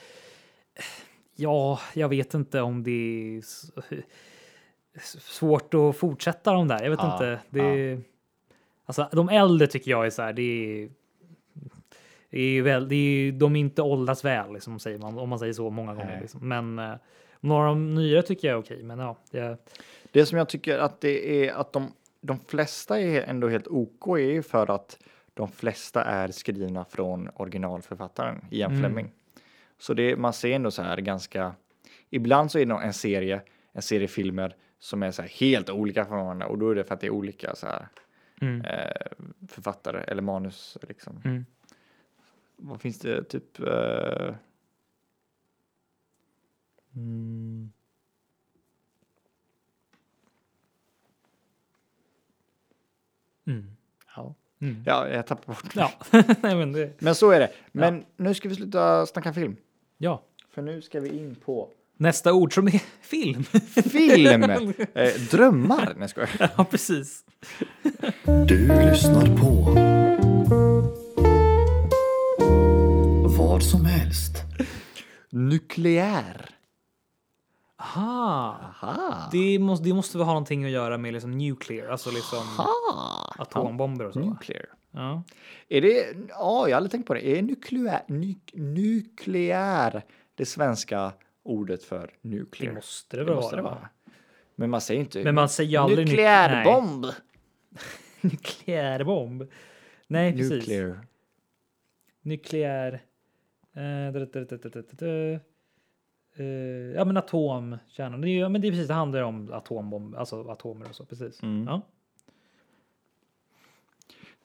Speaker 4: ja, jag vet inte om det är s- s- svårt att fortsätta de där. Jag vet
Speaker 5: Ja,
Speaker 4: inte. Det, är- Alltså, de äldre tycker jag är så här, det är, det är ju väl, det är, ju- de är inte åldras väl, liksom, säger man, om man säger så många gånger.
Speaker 5: Nej.
Speaker 4: Liksom. Men eh, några av de nyare tycker jag är okej, men ja. Det,
Speaker 5: Det som jag tycker att det är att de, de flesta är ändå helt OK är ju för att de flesta är skrivna från originalförfattaren Ian
Speaker 4: Mm.
Speaker 5: Fleming. Så det, man ser ändå så här ganska... Ibland så är det nog en serie, en serie filmer som är så här helt olika från varandra och då är det för att det är olika så här,
Speaker 4: mm.
Speaker 5: eh, författare eller manus. Liksom.
Speaker 4: Mm.
Speaker 5: Vad finns det typ? Eh, mm,
Speaker 4: Mm.
Speaker 5: ja.
Speaker 4: Mm.
Speaker 5: ja, jag tappar bort.
Speaker 4: Ja, nej men det...
Speaker 5: Men så är det. Men nu ska vi sluta snacka film.
Speaker 4: Ja.
Speaker 5: För nu ska vi in på
Speaker 4: Nästa ord som är film.
Speaker 5: film! eh, drömmar! Nej, jag skojar.
Speaker 4: ja, precis.
Speaker 2: Du lyssnar på vad som helst.
Speaker 5: Nukleär.
Speaker 4: Aha.
Speaker 5: Aha.
Speaker 4: Ah. Det måste, det måste väl ha någonting att göra med liksom nuclear, alltså liksom atombomber och så. va?
Speaker 5: Nuclear.
Speaker 4: Ja.
Speaker 5: Är det... Ja, jag har aldrig tänkt på det. Är nukleär, nuk, nukleär det svenska ordet för
Speaker 4: Det
Speaker 5: nuclear?
Speaker 4: måste det väl
Speaker 5: måste
Speaker 4: vara.
Speaker 5: det vara. Men man säger inte...
Speaker 4: Men man säger ju aldrig... nu-
Speaker 5: Nukleärbomb!
Speaker 4: Nej. Nukleärbomb. Nej, precis.
Speaker 5: Nuclear.
Speaker 4: Nukleär... eh, da, da, da, da, da, da, da. Eh, Ja men atomkärnan, det, är ju- ja, men det är precis det handlar ju om atombomb, alltså atomer och så precis.
Speaker 5: Mm.
Speaker 4: Ja.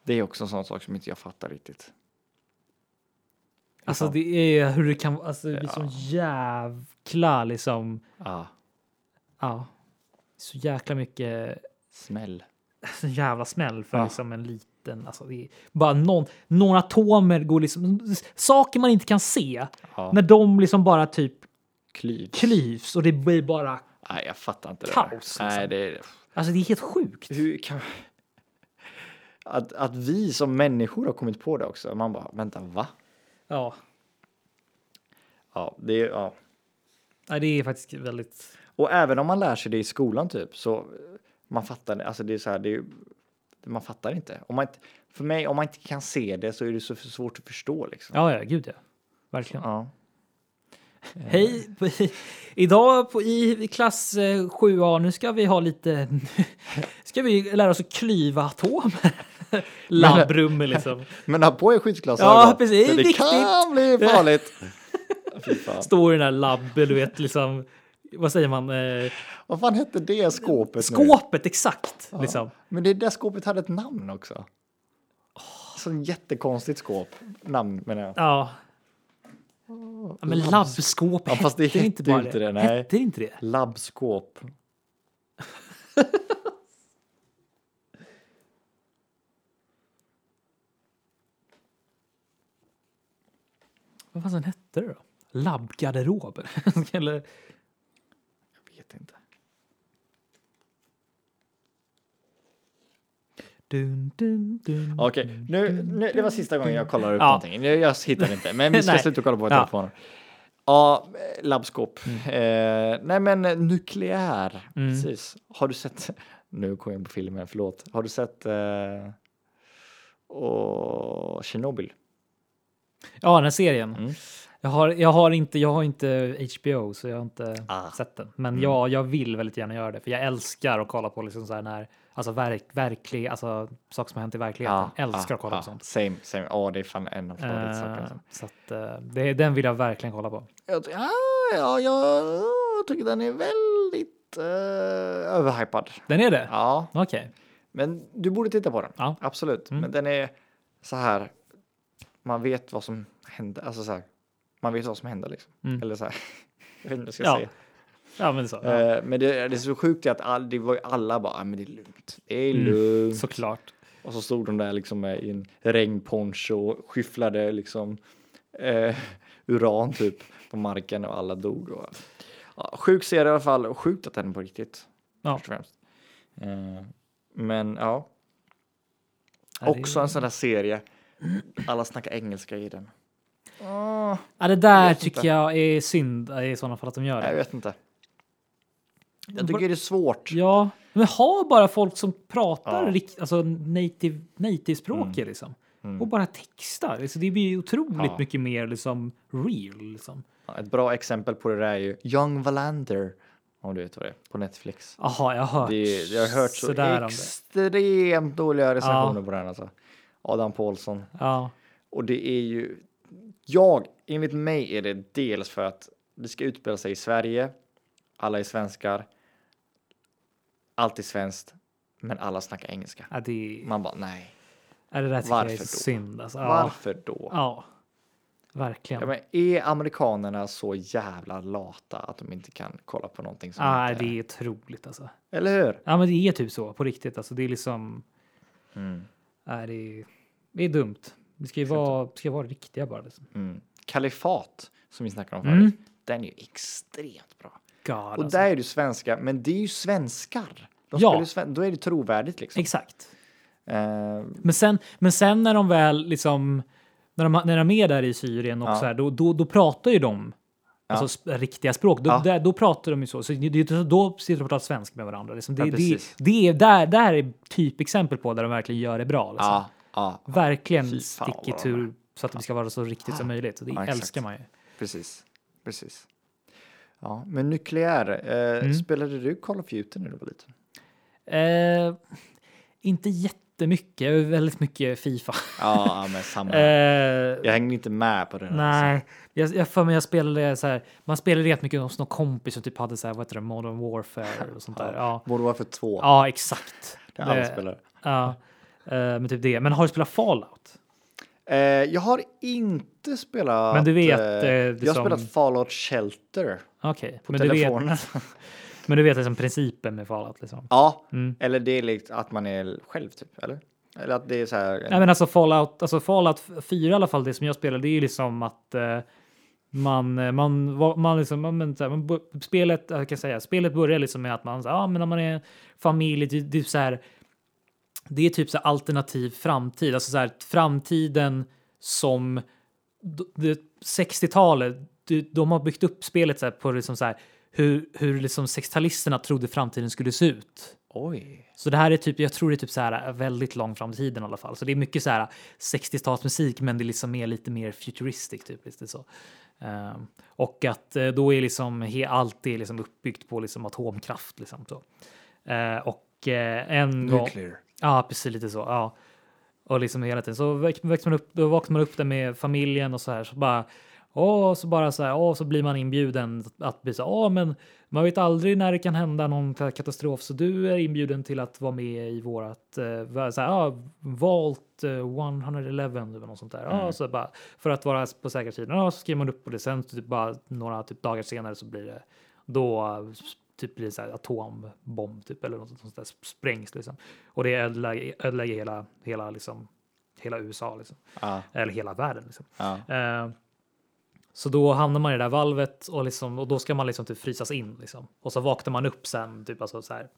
Speaker 5: Det är också en sån sak som inte jag fattar riktigt.
Speaker 4: Alltså
Speaker 5: Liksom.
Speaker 4: det är hur det kan alltså det blir
Speaker 5: Ja.
Speaker 4: sån jävla liksom.
Speaker 5: Ah,
Speaker 4: Ja. Så jäkla mycket
Speaker 5: smäll.
Speaker 4: så jävla smäll för
Speaker 5: Ja.
Speaker 4: liksom en liten alltså det är bara någon några atomer går liksom saker man inte kan se
Speaker 5: Ja.
Speaker 4: när de liksom bara typ
Speaker 5: Klyvs.
Speaker 4: klyvs och det blir bara
Speaker 5: Nej, jag fattar inte
Speaker 4: Kaos,
Speaker 5: det.
Speaker 4: liksom.
Speaker 5: där. Nej, det är...
Speaker 4: alltså det är helt sjukt.
Speaker 5: Hur kan... Att, att vi som människor har kommit på det också. Man bara, vänta, va?
Speaker 4: Ja,
Speaker 5: Ja, det är... Ja.
Speaker 4: Nej, det är faktiskt väldigt.
Speaker 5: Och även om man lär sig det i skolan typ så eh, man fattar det. Alltså det är så här, det är, ju- man fattar inte. Om man inte. För mig, om man inte kan se det så är det så f- svårt att förstå liksom.
Speaker 4: Ja, ja, gud ja. Verkligen.
Speaker 5: Ja.
Speaker 4: Hej! Idag på, i klass eh, 7A, nu ska vi ha lite... ska vi lära oss att klyva atomer. Labbrummel liksom.
Speaker 5: Men ha på er skyddsglasögon.
Speaker 4: Ja, precis,
Speaker 5: för Det
Speaker 4: viktigt.
Speaker 5: kan bli farligt. Fy fan.
Speaker 4: Står i den här labben, du vet liksom... Vad säger man? Eh,
Speaker 5: Vad fan hette det skåpet nu?
Speaker 4: skåpet, exakt! Liksom.
Speaker 5: Men det där skåpet hade ett namn också. Så jättekonstigt skåp. Namn menar jag.
Speaker 4: Ja. ja men labbskåp,
Speaker 5: Ja, fast det
Speaker 4: hette
Speaker 5: hette ju inte det, nej.
Speaker 4: Hette det inte det?
Speaker 5: Labbskåp.
Speaker 4: Vad fan hette det då? Labbgarderob? Eller...
Speaker 5: Jag vet inte.
Speaker 4: Dun, dun, dun.
Speaker 5: Okej, nu, nu, det var sista gången jag kollade upp
Speaker 4: Ja.
Speaker 5: någonting. Nu, jag hittar inte, men vi ska
Speaker 4: Nej.
Speaker 5: sluta kolla på
Speaker 4: Ja. Mm.
Speaker 5: telefonen. Ja, eh, labbskåp. Eh, nej, men eh, nukleär. Precis. Har du sett? Nu kom jag in på filmen, förlåt. Har du sett? Eh, åh, Tjernobyl.
Speaker 4: Ja, den här serien.
Speaker 5: Mm.
Speaker 4: Jag, har, jag, har inte, jag har inte HBO så jag har inte
Speaker 5: Ah.
Speaker 4: sett den. Men ja, jag vill väldigt gärna göra det för jag älskar att kolla på liksom så här när, alltså verk, verklig, alltså saker som har hänt i verkligheten.
Speaker 5: Ah,
Speaker 4: älskar att kolla på sånt.
Speaker 5: Same, same. Ja, det är fan en av favoritsakerna.
Speaker 4: Eh, så att, eh, det, den vill jag verkligen kolla på.
Speaker 5: Jag, ty- ja, ja, jag, jag tycker den är väldigt eh, överhypad.
Speaker 4: Den är det?
Speaker 5: Ja,
Speaker 4: Okej.
Speaker 5: Men du borde titta på den.
Speaker 4: Ja. Mm.
Speaker 5: Absolut. Men den är så här. Man vet vad som händer. Alltså så här. Man vet vad som händer liksom. Eller så här. Jag vet inte vad jag ska
Speaker 4: Mm.
Speaker 5: säga.
Speaker 4: Ja. Ja, men så. Ja.
Speaker 5: Eh, men det, det är så sjukt att all, det var ju alla bara, "Ah, men det är lugnt. Det är
Speaker 4: Mm.
Speaker 5: lugnt.
Speaker 4: Såklart.
Speaker 5: Och så stod de där liksom eh, i en regnponcho och skyfflade liksom eh, uran typ på marken och alla dog. Och, Ja, sjuk serie i alla fall och sjukt att den är på riktigt.
Speaker 4: Ja.
Speaker 5: Först och främst. Eh, men ja,
Speaker 4: Ja, det-
Speaker 5: också en sån där serie. Alla snackar engelska i den.
Speaker 4: Ja, det där
Speaker 5: vet
Speaker 4: tycker
Speaker 5: inte.
Speaker 4: jag är synd eh, i sådana fall att de gör
Speaker 5: Nej, Jag
Speaker 4: det.
Speaker 5: vet inte. Jag tycker det är svårt.
Speaker 4: Ja, men ha bara folk som pratar
Speaker 5: Ja. Mm.
Speaker 4: rikt- alltså native, native-språket liksom. Och bara textar. Alltså, det blir ju otroligt
Speaker 5: Ja.
Speaker 4: mycket mer liksom real. Liksom.
Speaker 5: Ja, Ett bra exempel på det där är ju Young Valander. Om du vet vad det är. På Netflix.
Speaker 4: Jaha, jag har hört,
Speaker 5: Det, jag har hört så
Speaker 4: sådär om det.
Speaker 5: extremt dåliga recensioner
Speaker 4: Ja.
Speaker 5: på den. Alltså. Adam Paulsson.
Speaker 4: Ja.
Speaker 5: Och det är ju... Jag, enligt mig är det dels för att det ska utspela sig i Sverige. Alla är svenskar. Allt är svenskt. Men alla snackar engelska.
Speaker 4: Ja, det,
Speaker 5: Man bara, nej.
Speaker 4: ja, det där tycker jag är
Speaker 5: Varför då?
Speaker 4: synd. Alltså. Ja.
Speaker 5: Varför då?
Speaker 4: Ja, verkligen.
Speaker 5: Ja, men är amerikanerna så jävla lata att de inte kan kolla på någonting som
Speaker 4: ah,
Speaker 5: inte
Speaker 4: det är otroligt alltså.
Speaker 5: Eller hur?
Speaker 4: Ja, men det är typ så på riktigt. Alltså, det är liksom.
Speaker 5: Mm.
Speaker 4: Nej, det, är, det är dumt. Det ska ju vara, ska vara riktiga bara. Liksom.
Speaker 5: Mm. Kalifat, som vi snackade om
Speaker 4: Mm.
Speaker 5: förut, den är ju extremt bra.
Speaker 4: God,
Speaker 5: Och
Speaker 4: alltså.
Speaker 5: där är det ju svenska, men det är ju svenskar. De
Speaker 4: Ja.
Speaker 5: spelar ju sven- då är det trovärdigt liksom.
Speaker 4: Exakt.
Speaker 5: Eh,
Speaker 4: Men sen, men sen när de väl liksom när de, när de är där i Syrien och
Speaker 5: Ja.
Speaker 4: så här, då, då, då pratar ju de alltså, sp- riktiga språk. Då,
Speaker 5: Ja.
Speaker 4: där, då pratar de ju så. så det, det- då sitter de och pratar svenska med varandra. Liksom. Det,
Speaker 5: Ja,
Speaker 4: det,
Speaker 5: precis.
Speaker 4: det är där, där är typexempel på där de verkligen gör det bra. Liksom.
Speaker 5: ja, ja, Fy
Speaker 4: Verkligen
Speaker 5: fan,
Speaker 4: stick
Speaker 5: vad de
Speaker 4: itu så att det ska vara så riktigt som möjligt. Och det
Speaker 5: Ja, exakt.
Speaker 4: älskar man ju.
Speaker 5: precis. precis. Ja, men nukleär, eh,
Speaker 4: Mm.
Speaker 5: spelade du Call of Duty när du var liten?
Speaker 4: Eh, inte jättemycket, jag är väldigt mycket Fifa.
Speaker 5: Ja, men samma.
Speaker 4: Eh,
Speaker 5: jag hängde inte med på den. alltså.
Speaker 4: Nej, jag, jag för mig jag spelade så här. Man spelade rätt mycket hos någon kompis som typ hade så här, vad heter det, Modern Warfare och sånt där. Ja,
Speaker 5: alltså. Borde vara för två.
Speaker 4: ja exakt.
Speaker 5: Det alla
Speaker 4: Det-
Speaker 5: spelar.
Speaker 4: Ja, eh, men typ det. Men har du spelat Fallout?
Speaker 5: Eh, jag har inte spelat...
Speaker 4: Men du vet,
Speaker 5: eh,
Speaker 4: eh, det
Speaker 5: jag har
Speaker 4: som-
Speaker 5: spelat Fallout Shelter
Speaker 4: Okej,
Speaker 5: på
Speaker 4: men, du vet-
Speaker 5: telefonen.
Speaker 4: men du vet liksom principen med Fallout liksom.
Speaker 5: ja,
Speaker 4: Mm.
Speaker 5: eller det är likt att man är själv typ, eller? Eller att det är så här...
Speaker 4: Nej, men alltså Fallout, alltså Fallout 4 i alla fall, det som jag spelade, det är ju liksom att eh, man, eh, man, var- man liksom, man, men, så här, man, bo- spelet, jag kan säga, spelet börjar liksom med att man, så här, ja men när man är en familj, det, det är så här, det är typ så här alternativ framtid, alltså så här framtiden som d- det- 60-talet, de, de har byggt upp spelet så här på liksom så här, hur, hur liksom 60-talisterna trodde framtiden skulle se ut.
Speaker 5: Oj.
Speaker 4: Så det här är typ, jag tror det är typ så här väldigt lång fram i tiden i alla fall. Så det är mycket så här 60-talsmusik, men det är liksom mer, lite mer futuristic typ. Lite så. Ehm, och att eh, då är liksom he, allt är liksom uppbyggt på liksom atomkraft liksom så. Eh, och eh, en gång. Ja, precis lite så. Ja. Och liksom hela tiden så väx- växte man upp, då vaknade man upp där med familjen och så här så bara Åh, så bara så här, åh, så blir man inbjuden att bli så åh, men man vet aldrig när det kan hända någon ka- katastrof, så du är inbjuden till att vara med i vårat eh, va- så här, ah, Vault eh, 111 eller något sånt där. Ja, så bara, för att vara på säkra sidan, ja, så skriver man upp på det. Sen typ bara några typ, dagar senare så blir det då eh, typ blir det så här atombomb typ eller något sånt där sprängs liksom. Och det ödelägger, ödelägger hela, hela liksom hela USA liksom.
Speaker 5: Ja,
Speaker 4: Eller hela världen liksom.
Speaker 5: ja.
Speaker 4: Eh, så då hamnar man i det där valvet och, liksom, och då ska man liksom typ frysas in. Liksom. Och så vaknar man upp sen, typ, alltså, så här,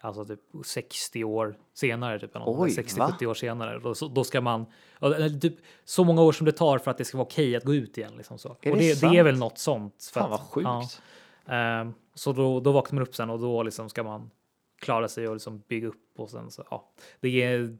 Speaker 4: alltså typ 60 år senare, typ, eller något
Speaker 5: Oj,
Speaker 4: sånt där,
Speaker 5: va?
Speaker 4: 60-70 år senare. Då, så, då ska man, eller, typ, så många år som det tar för att det ska vara okej att gå ut igen. Liksom, så.
Speaker 5: Är
Speaker 4: och
Speaker 5: det
Speaker 4: det, det, är
Speaker 5: sant?
Speaker 4: väl något sånt. för
Speaker 5: Fan vad
Speaker 4: att-
Speaker 5: sjukt.
Speaker 4: ja. Ehm, så då, då vaknar man upp sen och då liksom ska man klara sig och liksom bygga upp och sen så ja, det är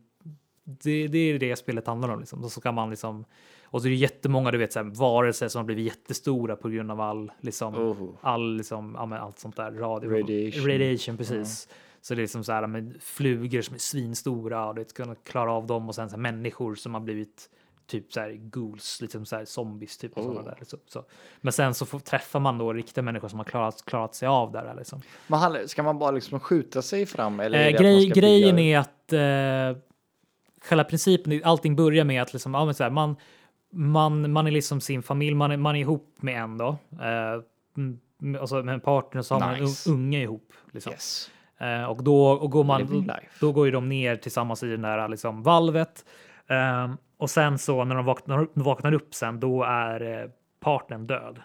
Speaker 4: det, det är det spelet handlar om liksom. Och så kan man liksom och så är det jättemånga du vet så här, varelser som har blivit jättestora på grund av all liksom
Speaker 5: Oh.
Speaker 4: all liksom ja, men allt sånt där radio
Speaker 5: Radiation.
Speaker 4: radiation precis. Så det är liksom så här med flugor som är svinstora och det kunna klara av dem och sen så här, människor som har blivit typ så här ghouls, liksom så här zombies typ och
Speaker 5: Oh.
Speaker 4: sådana där. Liksom. Så. Men sen så får, träffar man då riktiga människor som har klarat, klarat sig av där. Liksom.
Speaker 5: Men han, ska man bara liksom skjuta sig fram? Eller är
Speaker 4: Eh,
Speaker 5: det att man
Speaker 4: grej,
Speaker 5: ska
Speaker 4: grejen
Speaker 5: bygga-
Speaker 4: är att eh, själva principen, är- allting börjar med att liksom, ja, men så här, man, man, man är liksom sin familj, man är, man är ihop med en då. Eh, m- m- alltså med en partner så har
Speaker 5: Nice.
Speaker 4: man en un- unge ihop. Liksom.
Speaker 5: Yes.
Speaker 4: Eh, och då, och går
Speaker 5: Living
Speaker 4: man,
Speaker 5: life.
Speaker 4: då går ju de ner tillsammans i den där liksom, Ehm, valvet. Eh, och sen så när de vaknar, vaknar upp sen, då är eh, partnern död.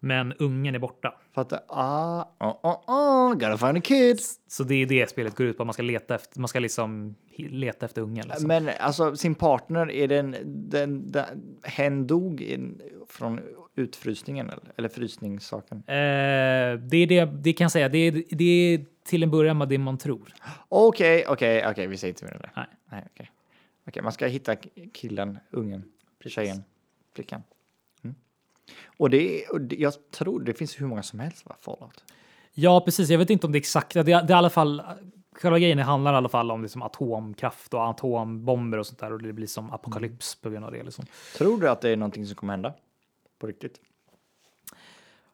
Speaker 4: Men ungen är borta.
Speaker 5: Fattar? Ah, oh, oh, oh, gotta find a kid.
Speaker 4: Så det är det spelet går ut på. Man ska leta efter, man ska liksom leta efter ungen. Liksom.
Speaker 5: Men alltså sin partner, är den, den, den hen dog in, från utfrysningen eller, eller frysningssaken?
Speaker 4: Eh, det är det, det kan jag säga. Det är, det är till en början med det man tror.
Speaker 5: Okej, okej, okej, vi säger inte mer om det.
Speaker 4: Nej.
Speaker 5: Nej, okej. Okej, man ska hitta killen, ungen, tjejen, flickan. Mm. Och, det, är- och det, jag tror det finns hur många som helst va, Fallout?
Speaker 4: Ja, precis. Jag vet inte om det är exakt. Det, det är i alla fall. Själva grejen handlar i alla fall om liksom atomkraft och atombomber och sånt där och det blir som apokalyps på grund av det. Liksom.
Speaker 5: Tror du att det är någonting som kommer hända? På riktigt?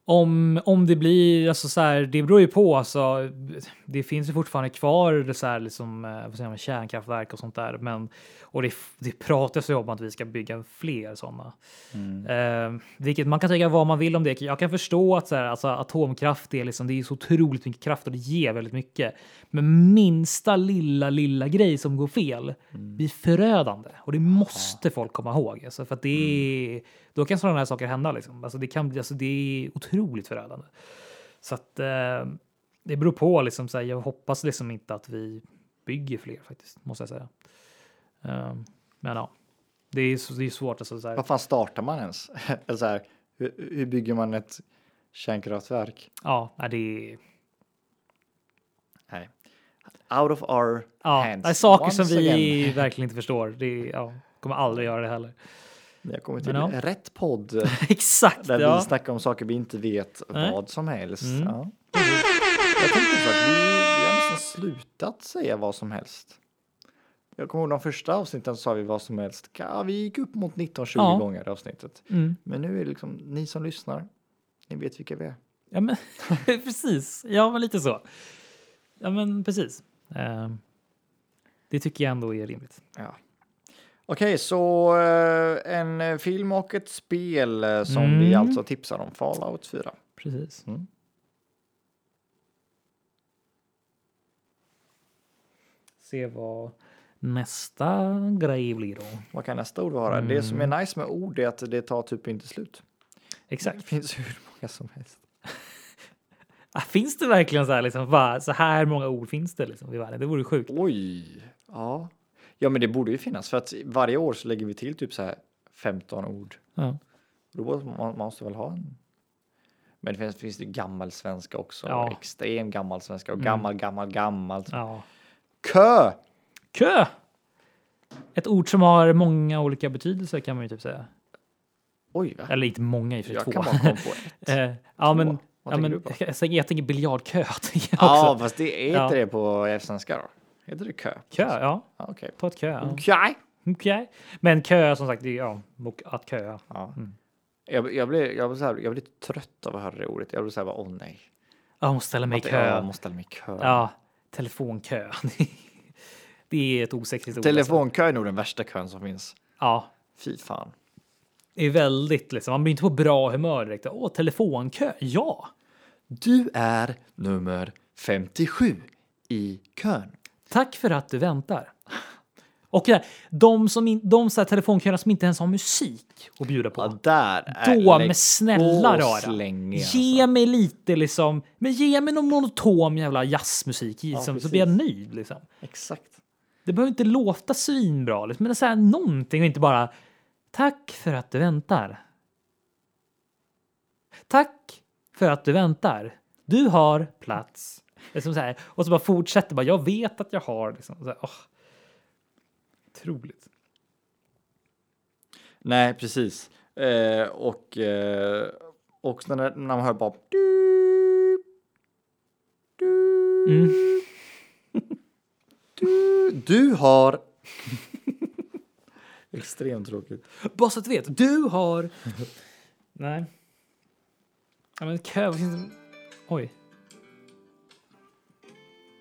Speaker 4: Om, om det blir, alltså så här, det beror ju på. Alltså, det finns ju fortfarande kvar det så här, liksom, eh, vad säger man, kärnkraftverk och sånt där. Men, och det, det pratas ju om att vi ska bygga fler sådana. Eh, vilket man kan tycka vad man vill om det. Jag kan förstå att så här, alltså, atomkraft är, liksom, det är så otroligt mycket kraft och det ger väldigt mycket. Men minsta lilla, lilla grej som går fel blir förödande. Och det måste folk komma ihåg. Alltså, för att det är, Då kan sådana här saker hända. Liksom. Alltså, det, kan, bli- alltså, det är otroligt förödande. Så att, eh, det beror på. Liksom, så här, jag hoppas liksom inte att vi bygger fler faktiskt, måste jag säga. Eh, men ja, det är, så- det är svårt. Alltså, så här.
Speaker 5: Vad fan startar man ens? Eller så här, hur, hur bygger man ett kärnkraftverk?
Speaker 4: Ja, nej, det är...
Speaker 5: Nej. Out of our
Speaker 4: Ja,
Speaker 5: hands.
Speaker 4: det är saker
Speaker 5: once
Speaker 4: som vi
Speaker 5: again.
Speaker 4: verkligen inte förstår. Det är, ja, kommer aldrig göra det heller.
Speaker 5: Ni har kommit till
Speaker 4: Men
Speaker 5: rätt podd
Speaker 4: Exakt!
Speaker 5: där
Speaker 4: Ja.
Speaker 5: vi snackar om saker vi inte vet
Speaker 4: Nej.
Speaker 5: vad som helst.
Speaker 4: Mm.
Speaker 5: Ja. Jag tänkte så att vi, vi har nästan slutat säga vad som helst. Jag kommer ihåg de första avsnitten så sa vi vad som helst. Ja, vi gick upp mot 19-20
Speaker 4: Ja.
Speaker 5: gånger i avsnittet.
Speaker 4: Mm.
Speaker 5: Men nu är det liksom ni som lyssnar. Ni vet vilka vi är.
Speaker 4: Ja, men, precis. Ja, men lite så. Ja, men precis. Ehm, det tycker jag ändå är rimligt.
Speaker 5: Ja. Okej, så eh, en eh, film och ett spel eh, som vi
Speaker 4: Mm.
Speaker 5: alltså tipsar om, Fallout 4.
Speaker 4: Precis.
Speaker 5: Mm.
Speaker 4: Se vad nästa grej blir då.
Speaker 5: Vad kan nästa ord vara? Det som är nice med ord är att det tar typ inte slut.
Speaker 4: Mm. Exakt.
Speaker 5: Det finns hur många som helst.
Speaker 4: Ah, Finns det verkligen så här, liksom, va? så här många ord finns det liksom, i världen? Det vore sjukt.
Speaker 5: Oj! Ja. ja, men det borde ju finnas för att varje år så lägger vi till typ så här 15 ord.
Speaker 4: Ja,
Speaker 5: Då måste man man måste väl ha en. Men det finns, finns det gammelsvenska också.
Speaker 4: Ja. Mm.
Speaker 5: Extrem gammelsvenska och gammal, gammal, gammal.
Speaker 4: ja.
Speaker 5: Kö!
Speaker 4: Kö! Ett ord som har många olika betydelser kan man ju typ säga.
Speaker 5: Oj, va?
Speaker 4: Eller inte många i och för sig,
Speaker 5: Jag
Speaker 4: två.
Speaker 5: kan bara komma på ett.
Speaker 4: Eh, ja, men,
Speaker 5: Vad
Speaker 4: ja,
Speaker 5: tänker
Speaker 4: men
Speaker 5: du på?
Speaker 4: jag, tänker- jag tänker biljardkö. tänker jag
Speaker 5: Ja,
Speaker 4: också.
Speaker 5: fast det heter
Speaker 4: Ja.
Speaker 5: det på svenska då? Heter det kö?
Speaker 4: Kö, ja.
Speaker 5: Ja, okej.
Speaker 4: Ta ett kö. Ja.
Speaker 5: Okej.
Speaker 4: Okej. Men kö, som sagt, det är, ja, och att köa.
Speaker 5: Ja.
Speaker 4: Mm.
Speaker 5: Jag, jag, blir, jag, blir så här, jag blir trött av att höra det ordet. Jag blir så här bara, åh nej.
Speaker 4: Jag måste ställa mig i
Speaker 5: Att Jag
Speaker 4: kö.
Speaker 5: måste ställa mig i kö.
Speaker 4: Ja, telefonkö. det är ett osexigt ord. alltså.
Speaker 5: Telefonkö är nog den värsta kön som finns.
Speaker 4: Ja,
Speaker 5: Fy fan.
Speaker 4: det är väldigt liksom. Man blir inte på bra humör direkt. Åh, telefonkö. Ja,
Speaker 5: Du är nummer 57 i kön.
Speaker 4: tack för att du väntar. Och det här, de som in, de så här telefonköerna som inte ens har musik att bjuda på.
Speaker 5: Ja, där är...
Speaker 4: Då,
Speaker 5: lägg
Speaker 4: men snälla
Speaker 5: på
Speaker 4: rara.
Speaker 5: slängen,
Speaker 4: Ge
Speaker 5: alltså.
Speaker 4: mig lite liksom, men ge mig någon monotom jävla jazzmusik liksom, så
Speaker 5: precis.
Speaker 4: blir jag nöjd liksom.
Speaker 5: Exakt.
Speaker 4: Det behöver inte låta svinbra, liksom, men så här någonting och inte bara tack för att du väntar. Tack för att du väntar. Du har plats. Liksom så här. Och så bara fortsätter bara, jag vet att jag har liksom. Så här, åh. Otroligt.
Speaker 5: Nej, precis. Eh, och eh, och när, när man hör bara...
Speaker 4: Mm.
Speaker 5: Du har... Extremt tråkigt.
Speaker 4: Bara så att du vet, du har... Nej. Ja, men kö... vad finns det- Oj.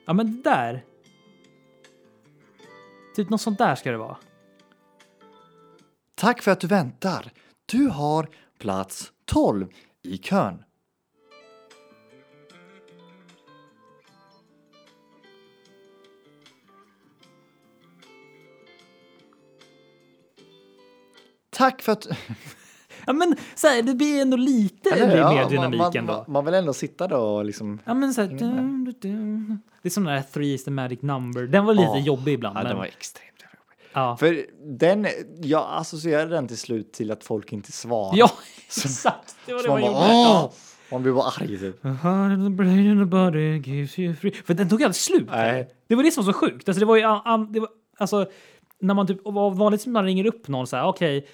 Speaker 4: Ja, men det där. Typ något sånt där ska det vara.
Speaker 5: Tack för att du väntar. Du har plats 12 i kön. Tack för att...
Speaker 4: Ja, Ja, men så här, det blir ändå lite det blir mer dynamik
Speaker 5: man,
Speaker 4: ändå.
Speaker 5: Man, man vill ändå sitta då och liksom...
Speaker 4: Ja, men så här, dum, dum, dum. Det är som den här Three is the magic number. Den var lite
Speaker 5: Ja.
Speaker 4: jobbig ibland.
Speaker 5: Ja,
Speaker 4: men,
Speaker 5: den var extremt jobbig.
Speaker 4: ja.
Speaker 5: För den, jag associerade den till slut till att folk inte svarar.
Speaker 4: ja, exakt. Det var
Speaker 5: Så
Speaker 4: det man
Speaker 5: man
Speaker 4: gjorde.
Speaker 5: bara,
Speaker 4: Ja.
Speaker 5: "Åh!" Man blir bara arg typ.
Speaker 4: A heart and a brain and a body gives you free. För den tog aldrig slut.
Speaker 5: Nej.
Speaker 4: heller. Det var det som var så sjukt. Alltså, det var ju, an- an- det var, alltså, när man typ, och vanligt när man ringer upp någon så här, okej,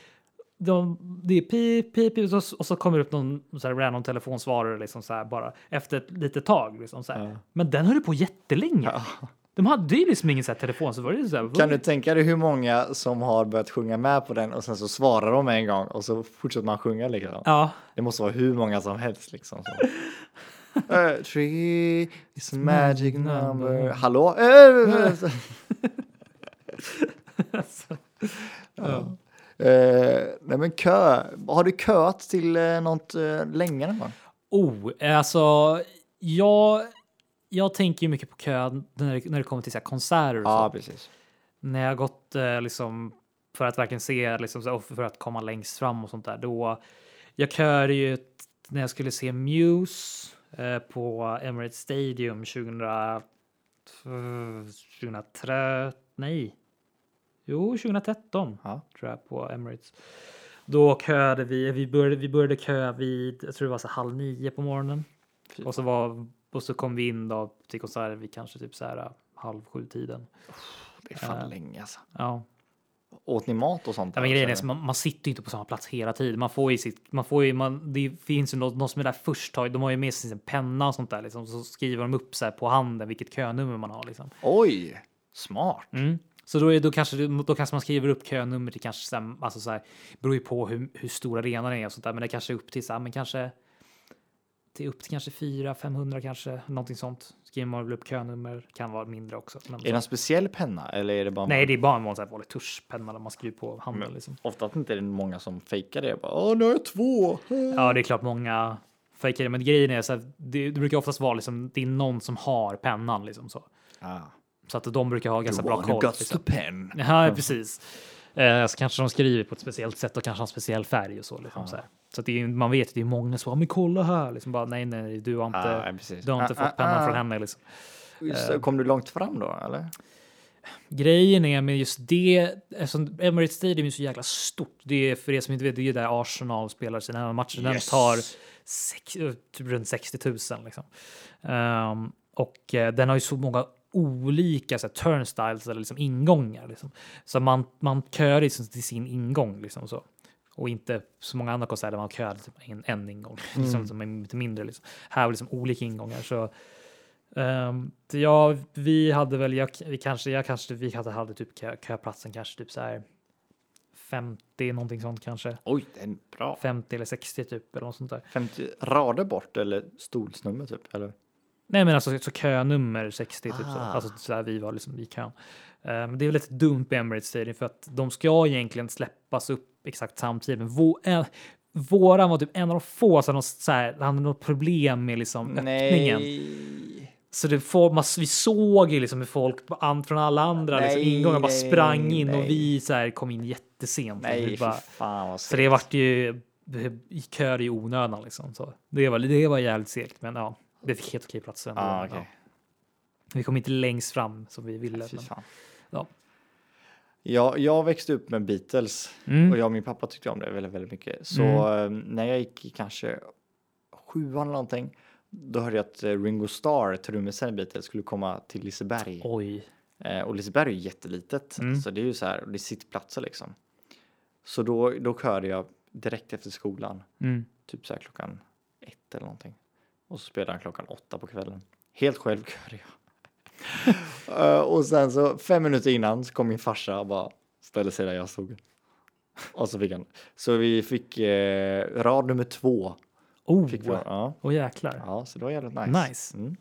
Speaker 4: de, det är pip, pip, pip, och så, och så kommer det upp någon så här random telefonsvarare liksom så här bara efter ett litet tag. Liksom så här.
Speaker 5: Ja.
Speaker 4: Men den höll på jättelänge. De hade ju liksom ingen så här telefon, så var det ju så här,
Speaker 5: Kan du tänka dig hur många som har börjat sjunga med på den och sen så svarar de en gång och så fortsätter man sjunga liksom.
Speaker 4: Ja,
Speaker 5: Det måste vara hur många som helst liksom. Så. Eh, Three is a magic number. Hallå? Eh, Eh, nej men kö. Har du köat till eh, något eh, länge någon gång?
Speaker 4: Oh, alltså jag, jag tänker ju mycket på kön när det, när det kommer till så här konserter. Och så.
Speaker 5: precis.
Speaker 4: När jag har gått eh, liksom, för att verkligen se liksom, så här, och för att komma längst fram och sånt där. Då, jag körde ju t- när jag skulle se Muse eh, på Emirates Stadium 2000, 2003, nej, jo 2013
Speaker 5: Ja.
Speaker 4: tror jag på Emirates. Då köade vi, vi började, vi började köa vid, jag tror det var så halv nio på morgonen. Och så, var, och så kom vi in då till konserten vid kanske typ så här halv sju tiden.
Speaker 5: Det är fan länge alltså.
Speaker 4: Ja.
Speaker 5: Åt ni mat och sånt?
Speaker 4: Ja,
Speaker 5: där,
Speaker 4: men grejen är
Speaker 5: så-
Speaker 4: så man, man sitter ju inte på samma plats hela tiden. Man får ju sitt, man får ju, man, det finns ju något, någon som är där först. Tar, ju- de har ju med sig sin penna och sånt där liksom. Så skriver de upp så här på handen vilket könummer man har liksom.
Speaker 5: Oj, smart.
Speaker 4: Mm. Så då, är, då, kanske, det- då kanske man skriver upp könummer till kanske så här, alltså så här, beror ju på hur, hur stor arenan är och sånt där. Men det kanske är upp till så här, men kanske till upp till kanske 400-500 kanske någonting sånt. Skriver man väl upp könummer kan vara mindre också. Men,
Speaker 5: Är det någon speciell penna eller är det bara?
Speaker 4: nej, det är bara en vanlig så här vanlig tuschpenna där man skriver på handen liksom.
Speaker 5: Ofta inte är det många som fejkar det. Bara, Åh, "Ah, nu har jag två.
Speaker 4: Ja, det är klart många fejkar det, men grejen är så här, det, det brukar oftast vara liksom, det är någon som har pennan liksom så.
Speaker 5: Ah.
Speaker 4: Så att de brukar ha ganska bra
Speaker 5: One who
Speaker 4: koll.
Speaker 5: got the
Speaker 4: Liksom.
Speaker 5: pen.
Speaker 4: Ja, precis. Eh, så kanske de skriver på ett speciellt sätt och kanske har en speciell färg och så. Liksom, så, här.
Speaker 5: Ah.
Speaker 4: så att det är, man vet att det är många som bara, men kolla här, liksom bara, nej, nej, du har inte,
Speaker 5: Ah, ja, precis.
Speaker 4: du har inte
Speaker 5: Ah,
Speaker 4: fått
Speaker 5: ah,
Speaker 4: pennan
Speaker 5: ah.
Speaker 4: från henne liksom.
Speaker 5: Just det, Eh, Kom du långt fram då eller?
Speaker 4: Grejen är med just det, eftersom Emirates Stadium är så jäkla stort. Det är för er som inte vet, det är ju där Arsenal spelar sina matcher. Den
Speaker 5: Yes.
Speaker 4: tar sex, eh, typ runt 60 000 liksom. Ehm, och eh, den har ju så många olika så här, turnstiles eller liksom ingångar. Liksom. Så man, man kör liksom till sin ingång liksom så. Och inte så många andra konserter där man kör typ en, en ingång, liksom, som är lite mindre. Liksom. Här var liksom olika ingångar. Så Ehm, det- ja, vi hade väl, jag, vi kanske, jag kanske, vi hade, hade typ kö, köplatsen kanske typ så här 50 någonting sånt kanske.
Speaker 5: Oj, den bra.
Speaker 4: 50 eller 60 typ eller något sånt där.
Speaker 5: 50 rader bort eller stolsnummer typ? Eller?
Speaker 4: Nej men alltså så könummer 60 typ så.
Speaker 5: Ah.
Speaker 4: Alltså så där vi var liksom i kön. Ehm, det är väl lite dumt med Emirates Stadium för att de ska egentligen släppas upp exakt samtidigt. Men vå, eh, våran var typ en av de få som så här, hade något problem med liksom öppningen.
Speaker 5: Nej.
Speaker 4: Så det får, man, vi såg ju liksom hur folk på an, från alla andra liksom,
Speaker 5: Nej,
Speaker 4: ingångar bara
Speaker 5: nej,
Speaker 4: sprang in och
Speaker 5: nej.
Speaker 4: vi så här kom in jättesent.
Speaker 5: Nej, fy
Speaker 4: Vi bara,
Speaker 5: fan vad
Speaker 4: så det vart ju i kör i onödan liksom. Så det, var, det var jävligt segt, men ja, det fick helt okej plats ändå.
Speaker 5: Ah, okej.
Speaker 4: ja. Vi kom inte längst fram som vi ville.
Speaker 5: Fy
Speaker 4: men,
Speaker 5: fan.
Speaker 4: ja.
Speaker 5: Jag, jag växte upp med Beatles
Speaker 4: Mm.
Speaker 5: och jag och min pappa tyckte om det väldigt, väldigt mycket. Så eh, när jag gick i kanske sjuan eller någonting, då hörde jag att eh, Ringo Starr, trummisen i Beatles, skulle komma till Liseberg.
Speaker 4: Oj.
Speaker 5: Eh, och Liseberg är ju jättelitet,
Speaker 4: Mm.
Speaker 5: så det är ju så här, det är sittplatser liksom. Så då, då körde jag direkt efter skolan,
Speaker 4: Mm.
Speaker 5: typ så här klockan ett eller någonting. Och så spelade han klockan åtta på kvällen. Helt själv körde jag. Eh, och sen så fem minuter innan så kom min farsa och bara ställde sig där jag stod. Och så fick han. Så vi fick eh, rad nummer två.
Speaker 4: Oh,
Speaker 5: Fick vi, ja,
Speaker 4: Åh, jäklar.
Speaker 5: ja, så det var jävligt nice.
Speaker 4: Nice.
Speaker 5: Mm.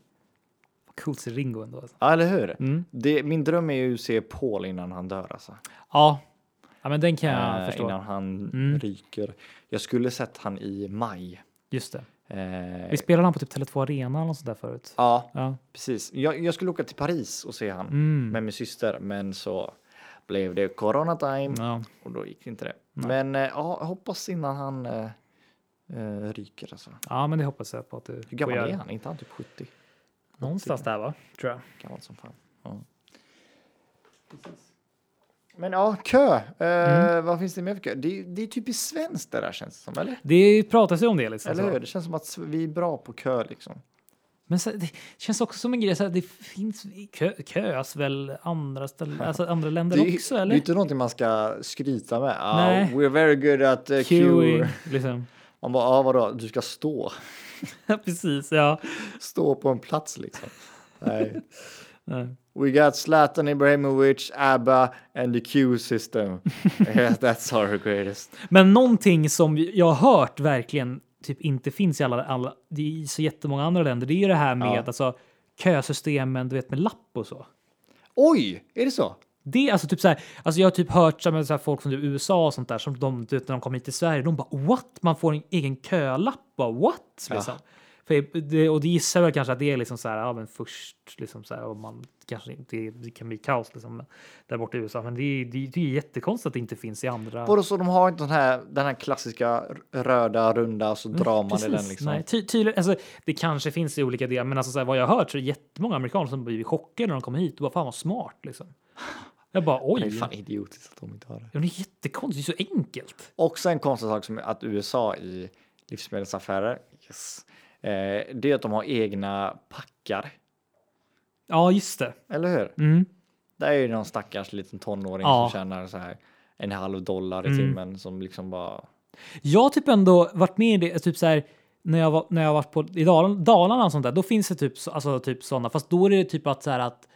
Speaker 4: Vad Coolt ser Ringo ändå. Alltså.
Speaker 5: Ja, eller hur?
Speaker 4: Mm.
Speaker 5: Det, min dröm är ju att se Paul innan han dör alltså.
Speaker 4: Ja. ja, men den kan jag
Speaker 5: eh,
Speaker 4: förstå.
Speaker 5: innan han
Speaker 4: Mm.
Speaker 5: ryker. Jag skulle sett han i maj.
Speaker 4: Just det.
Speaker 5: Eh,
Speaker 4: Vi spelade han på typ Tele2 Arena eller något sånt där förut.
Speaker 5: ja,
Speaker 4: Ja.
Speaker 5: precis. Jag, jag skulle åka till Paris och se han
Speaker 4: Mm.
Speaker 5: med min syster, men så blev det corona time
Speaker 4: Ja.
Speaker 5: och då gick inte det. Men eh, ja, jag hoppas innan han eh, eh, ryker alltså.
Speaker 4: ja, men det hoppas jag på att du
Speaker 5: Hur
Speaker 4: får
Speaker 5: gammal
Speaker 4: göra.
Speaker 5: är han? Inte han typ 70?
Speaker 4: Någonstans där va? Tror jag.
Speaker 5: Gammal som fan. Ja. Men ja, kö. Eh,
Speaker 4: Mm.
Speaker 5: Vad finns det mer för kö? Det, är- det är typiskt svenskt det där känns det som, eller?
Speaker 4: Det pratas ju om det. Liksom,
Speaker 5: Eller
Speaker 4: så.
Speaker 5: hur? Det känns som att s- vi är bra på kö liksom.
Speaker 4: Men så, det känns också som en grej, så här, det finns kö, köas väl andra, ställen, alltså andra länder
Speaker 5: Det är,
Speaker 4: också?
Speaker 5: det är
Speaker 4: Eller?
Speaker 5: inte någonting man ska skryta med. Ah,
Speaker 4: Nej. E.
Speaker 5: We're very good at uh,
Speaker 4: Queuing,
Speaker 5: queuing.
Speaker 4: liksom.
Speaker 5: Man bara, ah, vadå, du ska stå.
Speaker 4: Ja, Precis, ja.
Speaker 5: Stå på en plats liksom. Nej.
Speaker 4: Nej.
Speaker 5: We got Zlatan Ibrahimovic, ABBA and the queue system. yeah, that's our greatest.
Speaker 4: Men någonting som jag har hört verkligen typ inte finns i alla, alla det är i så jättemånga andra länder, det är ju det här med
Speaker 5: Ja.
Speaker 4: alltså, kösystemen, du vet med lapp och så.
Speaker 5: Oj, är det så?
Speaker 4: Det är alltså typ så här, alltså jag har typ hört så här, med så här folk från typ USA och sånt där som de, du vet, när de kommer hit till Sverige, de bara what? Man får en egen kölapp, bara what? Liksom. För det, och det gissar jag väl kanske att det är liksom så här, ja men först liksom så här och man kanske inte, det kan bli kaos liksom där borta i USA. Men det, är- det, är- det är jättekonstigt att det inte finns i andra.
Speaker 5: Vadå, så de har inte den här, den här klassiska r- röda runda och så drar man i den
Speaker 4: Precis,
Speaker 5: liksom?
Speaker 4: nej, ty, tydligen, alltså, det kanske finns i olika delar, men alltså, så här, vad jag har hört så är det jättemånga amerikaner som blir chockade när de kommer hit och bara fan vad smart liksom. Jag bara oj,
Speaker 5: Det
Speaker 4: det
Speaker 5: är fan idiotiskt att de inte har det.
Speaker 4: det är jättekonstigt, det är så enkelt.
Speaker 5: Också en konstig sak som är att USA i livsmedelsaffärer, yes, eh, det är att de har egna packar.
Speaker 4: Ja, just det.
Speaker 5: Eller hur?
Speaker 4: Mm.
Speaker 5: Där är ju någon stackars liten tonåring
Speaker 4: Ja.
Speaker 5: som tjänar så här en halv dollar i
Speaker 4: Mm.
Speaker 5: timmen som liksom bara...
Speaker 4: Jag har typ ändå varit med i det, typ så här, när jag var, när jag var på, i Dal- Dalarna och sånt där, då finns det typ, så- alltså, typ sådana, fast då är det typ att, så här, att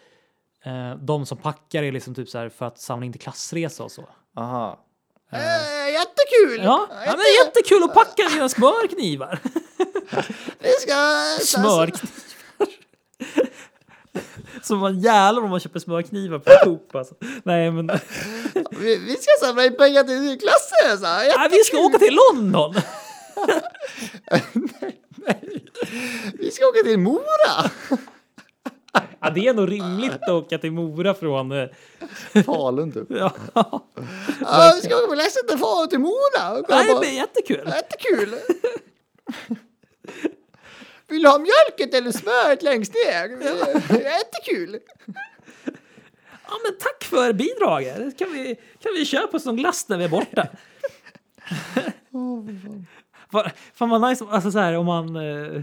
Speaker 4: eh, de som packar är liksom typ så här för att samla in till klassresa och så.
Speaker 5: Aha. Eh, jättekul!
Speaker 4: Ja, ja men jättekul att packa sina smörknivar.
Speaker 5: Vi ska...
Speaker 4: Alltså, Smörknivar. Som man jävlar om man köper smörknivar på Coop alltså. Nej men,
Speaker 5: Vi, vi ska samla in pengar till klassen! Så här.
Speaker 4: nej, vi ska åka till London!
Speaker 5: Vi ska åka till Mora!
Speaker 4: Ja, det är nog rimligt att åka till Mora från... eh,
Speaker 5: Falun typ.
Speaker 4: Ja.
Speaker 5: Ja, vi ska åka på läxan till Falun till Mora! Och kolla
Speaker 4: Nej,
Speaker 5: på-
Speaker 4: det är jättekul!
Speaker 5: Jättekul! Vill du ha mjölket eller smöret längst ner? Jättekul!
Speaker 4: Ja, men tack för bidraget! Kan vi, kan vi köpa oss någon glass när vi är borta? Fan fan vad nice alltså, så här, om man... eh,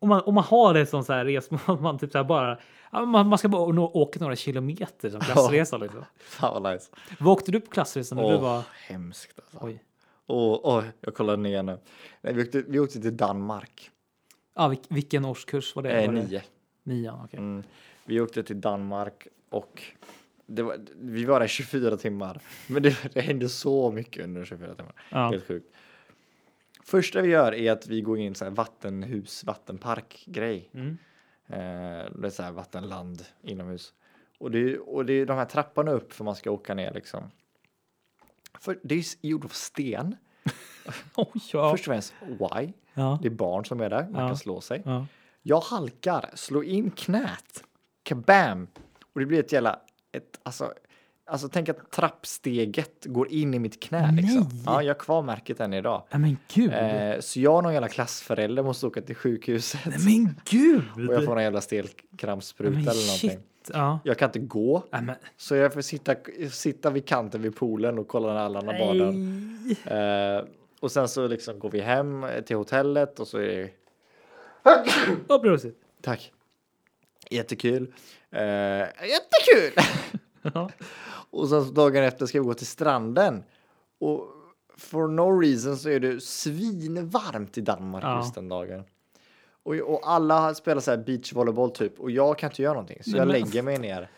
Speaker 4: Om man, om man har det som så här resmål, att man typ så här bara... ja, Man, man ska bara nå- åka några kilometer som klassresa liksom.
Speaker 5: Fan vad nice.
Speaker 4: Vad åkte du på klassresa när du var...
Speaker 5: Hemskt alltså.
Speaker 4: Oj.
Speaker 5: Åh, oj, jag kollar ner nu. Nej, vi, åkte, vi åkte till Danmark.
Speaker 4: Ja, vil, vilken årskurs var det?
Speaker 5: Eh,
Speaker 4: var det?
Speaker 5: nio.
Speaker 4: Nian, okej.
Speaker 5: Mm. Vi åkte till Danmark och det var, vi var där 24 timmar. Men det, det hände så mycket under 24 timmar.
Speaker 4: Ja.
Speaker 5: Helt sjukt. Första vi gör är att vi går in i en så här vattenhus, vattenpark-grej.
Speaker 4: Mm.
Speaker 5: Eh, det är så här vattenland inomhus. Och det, är- och det är de här trapporna upp för man ska åka ner liksom. För det är s- gjort av sten.
Speaker 4: Oj, ja.
Speaker 5: Först och främst, why?
Speaker 4: Ja.
Speaker 5: Det är barn som är där, man
Speaker 4: Ja.
Speaker 5: kan slå sig.
Speaker 4: Ja.
Speaker 5: Jag halkar, slår in knät, kabam! Och det blir ett jävla, ett, alltså, alltså tänk att trappsteget går in i mitt knä liksom.
Speaker 4: Nej.
Speaker 5: Ja, jag har kvar märket än idag.
Speaker 4: Nej, men gud!
Speaker 5: Eh, så jag och någon jävla klassförälder måste åka till sjukhuset
Speaker 4: Nej, men gud!
Speaker 5: och jag får någon jävla
Speaker 4: Nej,
Speaker 5: stelkrampsspruta
Speaker 4: men
Speaker 5: eller någonting.
Speaker 4: shit! Ja.
Speaker 5: Jag kan inte gå,
Speaker 4: Nej, men...
Speaker 5: så jag får sitta, sitta vid kanten vid poolen och kolla när alla andra badar. Eh, och sen så liksom går vi hem till hotellet och så är det
Speaker 4: Vad prosit.
Speaker 5: Tack. Jättekul. Eh, jättekul!
Speaker 4: Ja.
Speaker 5: och sen så dagen efter ska vi gå till stranden. Och for no reason så är det svinvarmt i Danmark
Speaker 4: Ja.
Speaker 5: just den dagen. Och, och alla spelar så här beachvolleyboll typ och jag kan inte göra någonting så
Speaker 4: Nej,
Speaker 5: jag
Speaker 4: men-
Speaker 5: lägger mig ner.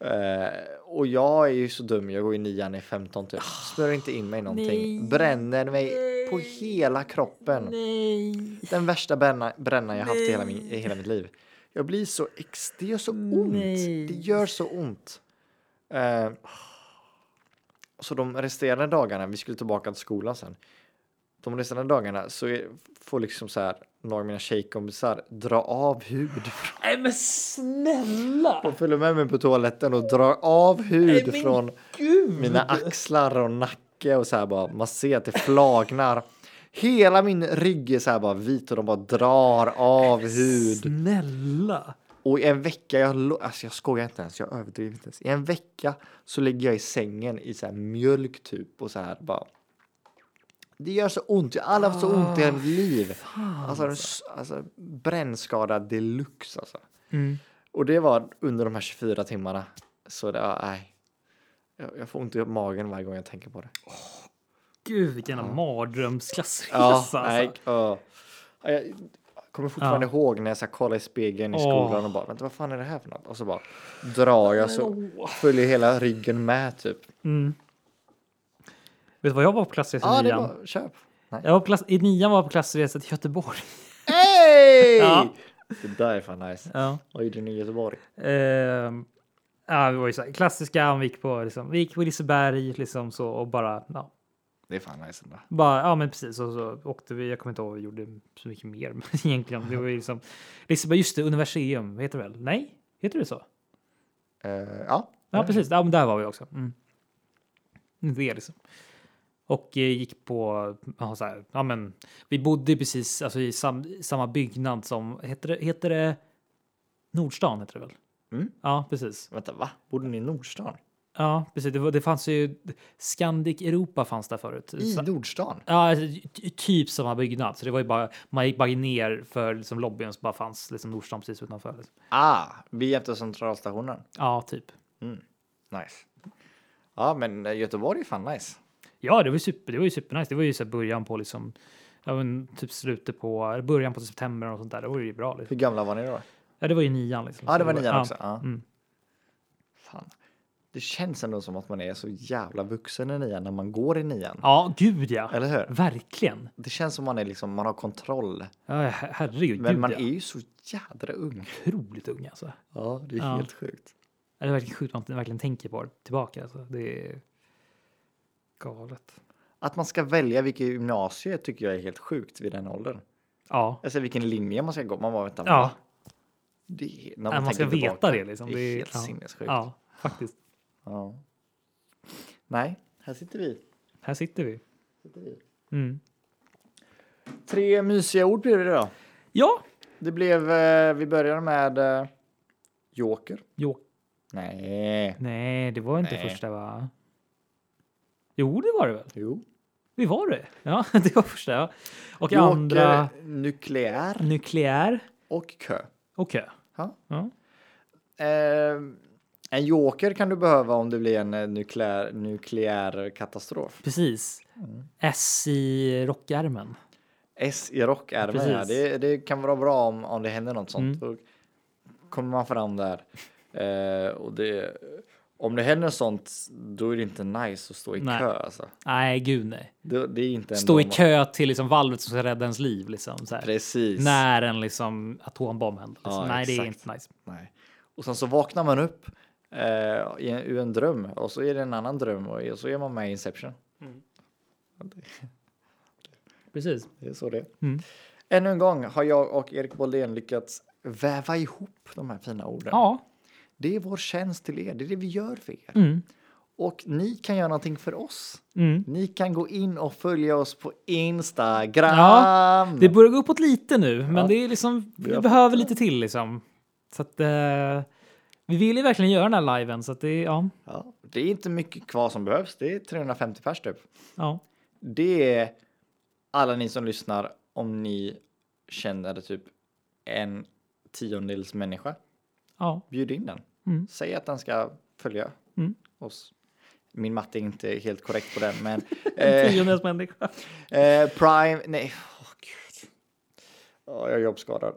Speaker 5: Eh, och jag är ju så dum, jag går i nian i 15 typ. Smörjer inte in mig någonting.
Speaker 4: Nej.
Speaker 5: Bränner mig på hela kroppen.
Speaker 4: Nej.
Speaker 5: Den värsta bränna, brännan jag haft i hela, min, i hela mitt liv. Jag blir så ex... Det gör så ont.
Speaker 4: Nej.
Speaker 5: Det gör så ont. Eh, så de resterande dagarna, vi skulle tillbaka till skolan sen. de resterande dagarna så är, får liksom så här några av mina tjejkompisar dra av hud.
Speaker 4: Nej men snälla!
Speaker 5: De följer med mig på toaletten och drar av hud
Speaker 4: Nej, men
Speaker 5: från
Speaker 4: Gud!
Speaker 5: mina axlar och nacke och så här bara. Man ser att det flagnar. Hela min rygg är så här bara vit och de bara drar av hud.
Speaker 4: Snälla!
Speaker 5: Och i en vecka, jag, lo- alltså jag skojar inte ens, jag överdriver inte ens. I en vecka så ligger jag i sängen i så här mjölk typ och så här bara. Det gör så ont, jag har aldrig haft så ont i hela mitt liv. Alltså, en s- alltså brännskada deluxe alltså.
Speaker 4: Mm.
Speaker 5: Och det var under de här 24 timmarna. Så det var, nej. Jag, jag får ont i magen varje gång jag tänker på det.
Speaker 4: Gud vilken mardrömsklassresa!
Speaker 5: Ja,
Speaker 4: alltså.
Speaker 5: nej, ja. Ja, Jag kommer fortfarande ihåg när jag så här kollade i spegeln i
Speaker 4: Åh.
Speaker 5: skolan och bara, vänta vad fan är det här för något? Och så bara drar jag så följer hela ryggen med typ.
Speaker 4: Mm. Vet du vad jag var på klassresa
Speaker 5: Ja,
Speaker 4: i
Speaker 5: det
Speaker 4: nian?
Speaker 5: var, köp. Nej.
Speaker 4: Jag var på klass... I nian var jag på klassresa till Göteborg.
Speaker 5: Hey!
Speaker 4: Ja.
Speaker 5: Det där är fan nice.
Speaker 4: Ja.
Speaker 5: Vad gjorde ni i Göteborg?
Speaker 4: Ehm, ja, vi var ju så här, klassiska, vi gick på, liksom, vi gick på Liseberg liksom, så, och bara, ja,
Speaker 5: Det är fan nice ändå.
Speaker 4: bara, ja men precis. Och så åkte vi, jag kommer inte ihåg vad vi gjorde så mycket mer men egentligen. Det var ju liksom, Liseberg, just det, Universium heter det väl? Nej, heter det så?
Speaker 5: Eh, ja.
Speaker 4: Ja, precis. Ja, men där var vi också. Mm. Det är liksom. Och eh, gick på, ja, så här, ja men vi bodde precis alltså, i sam, samma byggnad som, heter det, heter det Nordstan heter det väl?
Speaker 5: Mm.
Speaker 4: Ja, precis.
Speaker 5: Vänta, va? Bodde ni i Nordstan?
Speaker 4: Ja, precis. Det, var, det fanns ju Scandic Europa fanns där förut.
Speaker 5: I
Speaker 4: Så-
Speaker 5: Nordstan?
Speaker 4: Ja, alltså, ty- typ samma byggnad. Så det var ju bara, man gick bara ner för liksom, lobbyn och så bara fanns liksom, Nordstan precis utanför. Liksom.
Speaker 5: Ah, vi efter centralstationen.
Speaker 4: Ja, typ.
Speaker 5: Nice. Ja, men eh, Göteborg är fan nice.
Speaker 4: Ja, det var ju, super, det var ju supernice. Det var ju så här början på liksom, ja, men typ slutet på, början på september och sånt där. Det var ju bra. Liksom.
Speaker 5: Hur gamla var ni då?
Speaker 4: Ja, det var ju nian. Liksom.
Speaker 5: Ja,
Speaker 4: Så
Speaker 5: det var nian också. Ja.
Speaker 4: Mm.
Speaker 5: Fan. Det känns ändå som att man är så jävla vuxen i nian när man går i nian.
Speaker 4: Ja, gud ja.
Speaker 5: Eller hur?
Speaker 4: Verkligen.
Speaker 5: Det känns som man är liksom, man har kontroll.
Speaker 4: Ja, her- herregud,
Speaker 5: Men
Speaker 4: gud
Speaker 5: man
Speaker 4: ja.
Speaker 5: är ju så jädra ung.
Speaker 4: Otroligt ung alltså.
Speaker 5: Ja, det är
Speaker 4: Ja.
Speaker 5: helt sjukt.
Speaker 4: Ja, Det är verkligen sjukt att man verkligen tänker på det tillbaka. Alltså. Det är galet.
Speaker 5: Att man ska välja vilket gymnasium tycker jag är helt sjukt vid den åldern.
Speaker 4: Ja,
Speaker 5: Alltså vilken linje man ska gå. Man bara vänta.
Speaker 4: ja.
Speaker 5: va? Det, är- när
Speaker 4: Man, man ska
Speaker 5: tänker
Speaker 4: veta
Speaker 5: tillbaka,
Speaker 4: det liksom.
Speaker 5: Det är helt
Speaker 4: ja.
Speaker 5: sinnessjukt.
Speaker 4: Ja, faktiskt.
Speaker 5: Ja. Nej, här sitter vi.
Speaker 4: Här sitter vi.
Speaker 5: sitter vi.
Speaker 4: Mm.
Speaker 5: Tre mysiga ord blir det idag.
Speaker 4: Ja,
Speaker 5: Det blev, eh, vi börjar med eh, Joker.
Speaker 4: jo.
Speaker 5: Nej.
Speaker 4: Nej, det var inte
Speaker 5: Nej.
Speaker 4: första va? Jo, det var det väl?
Speaker 5: Jo.
Speaker 4: Det var det. Ja, det var första. Ja. Och andra
Speaker 5: Joker, nukleär
Speaker 4: nukleär
Speaker 5: och kö.
Speaker 4: och kö.
Speaker 5: Ja.
Speaker 4: Ja.
Speaker 5: Eh, en joker kan du behöva om det blir en eh, nukleär, nukleär katastrof.
Speaker 4: Precis.
Speaker 5: Mm.
Speaker 4: S i rockärmen.
Speaker 5: S i rockärmen,
Speaker 4: Precis. Mm.
Speaker 5: ja, det, det kan vara bra om, om det händer något sånt. Då kommer man fram där. Eh, och det, om det händer sånt, då är det inte nice att stå i
Speaker 4: Nej.
Speaker 5: kö. Alltså.
Speaker 4: Nej, gud nej.
Speaker 5: Det, det är inte en
Speaker 4: Stå i
Speaker 5: bra-
Speaker 4: kö till liksom valvet som ska rädda ens liv. Liksom, så här.
Speaker 5: Precis.
Speaker 4: När en liksom, atombomb händer. Liksom.
Speaker 5: Ja,
Speaker 4: nej, det är
Speaker 5: exakt.
Speaker 4: inte nice.
Speaker 5: Nej. Och sen så vaknar man upp eh, i en, ur en dröm och så är det en annan dröm och så är man med i Inception.
Speaker 4: Precis.
Speaker 5: Det är så det är.
Speaker 4: Mm.
Speaker 5: Ännu en gång har jag och Erik Boldén lyckats väva ihop de här fina orden.
Speaker 4: Ja,
Speaker 5: Det är vår tjänst till er, det är det vi gör för er.
Speaker 4: mm.
Speaker 5: Och ni kan göra någonting för oss.
Speaker 4: Mm.
Speaker 5: Ni kan gå in och följa oss på Instagram.
Speaker 4: Ja, det börjar gå uppåt lite nu, men
Speaker 5: Ja.
Speaker 4: det är liksom, vi
Speaker 5: har-
Speaker 4: behöver lite till liksom. Så att, eh, vi vill ju verkligen göra den här liven, så att det är, ja,
Speaker 5: Ja, det är inte mycket kvar som behövs, det är 350 pers typ.
Speaker 4: ja.
Speaker 5: Det är alla ni som lyssnar om ni känner typ en tiondels människa.
Speaker 4: ja.
Speaker 5: Bjud in den.
Speaker 4: Mm.
Speaker 5: Säg att den ska följa
Speaker 4: Mm.
Speaker 5: oss. Min matte är inte helt korrekt på den, men
Speaker 4: En
Speaker 5: eh,
Speaker 4: tiondels människa.
Speaker 5: eh, Prime, nej, åh gud. Åh, jag är jobbskadad.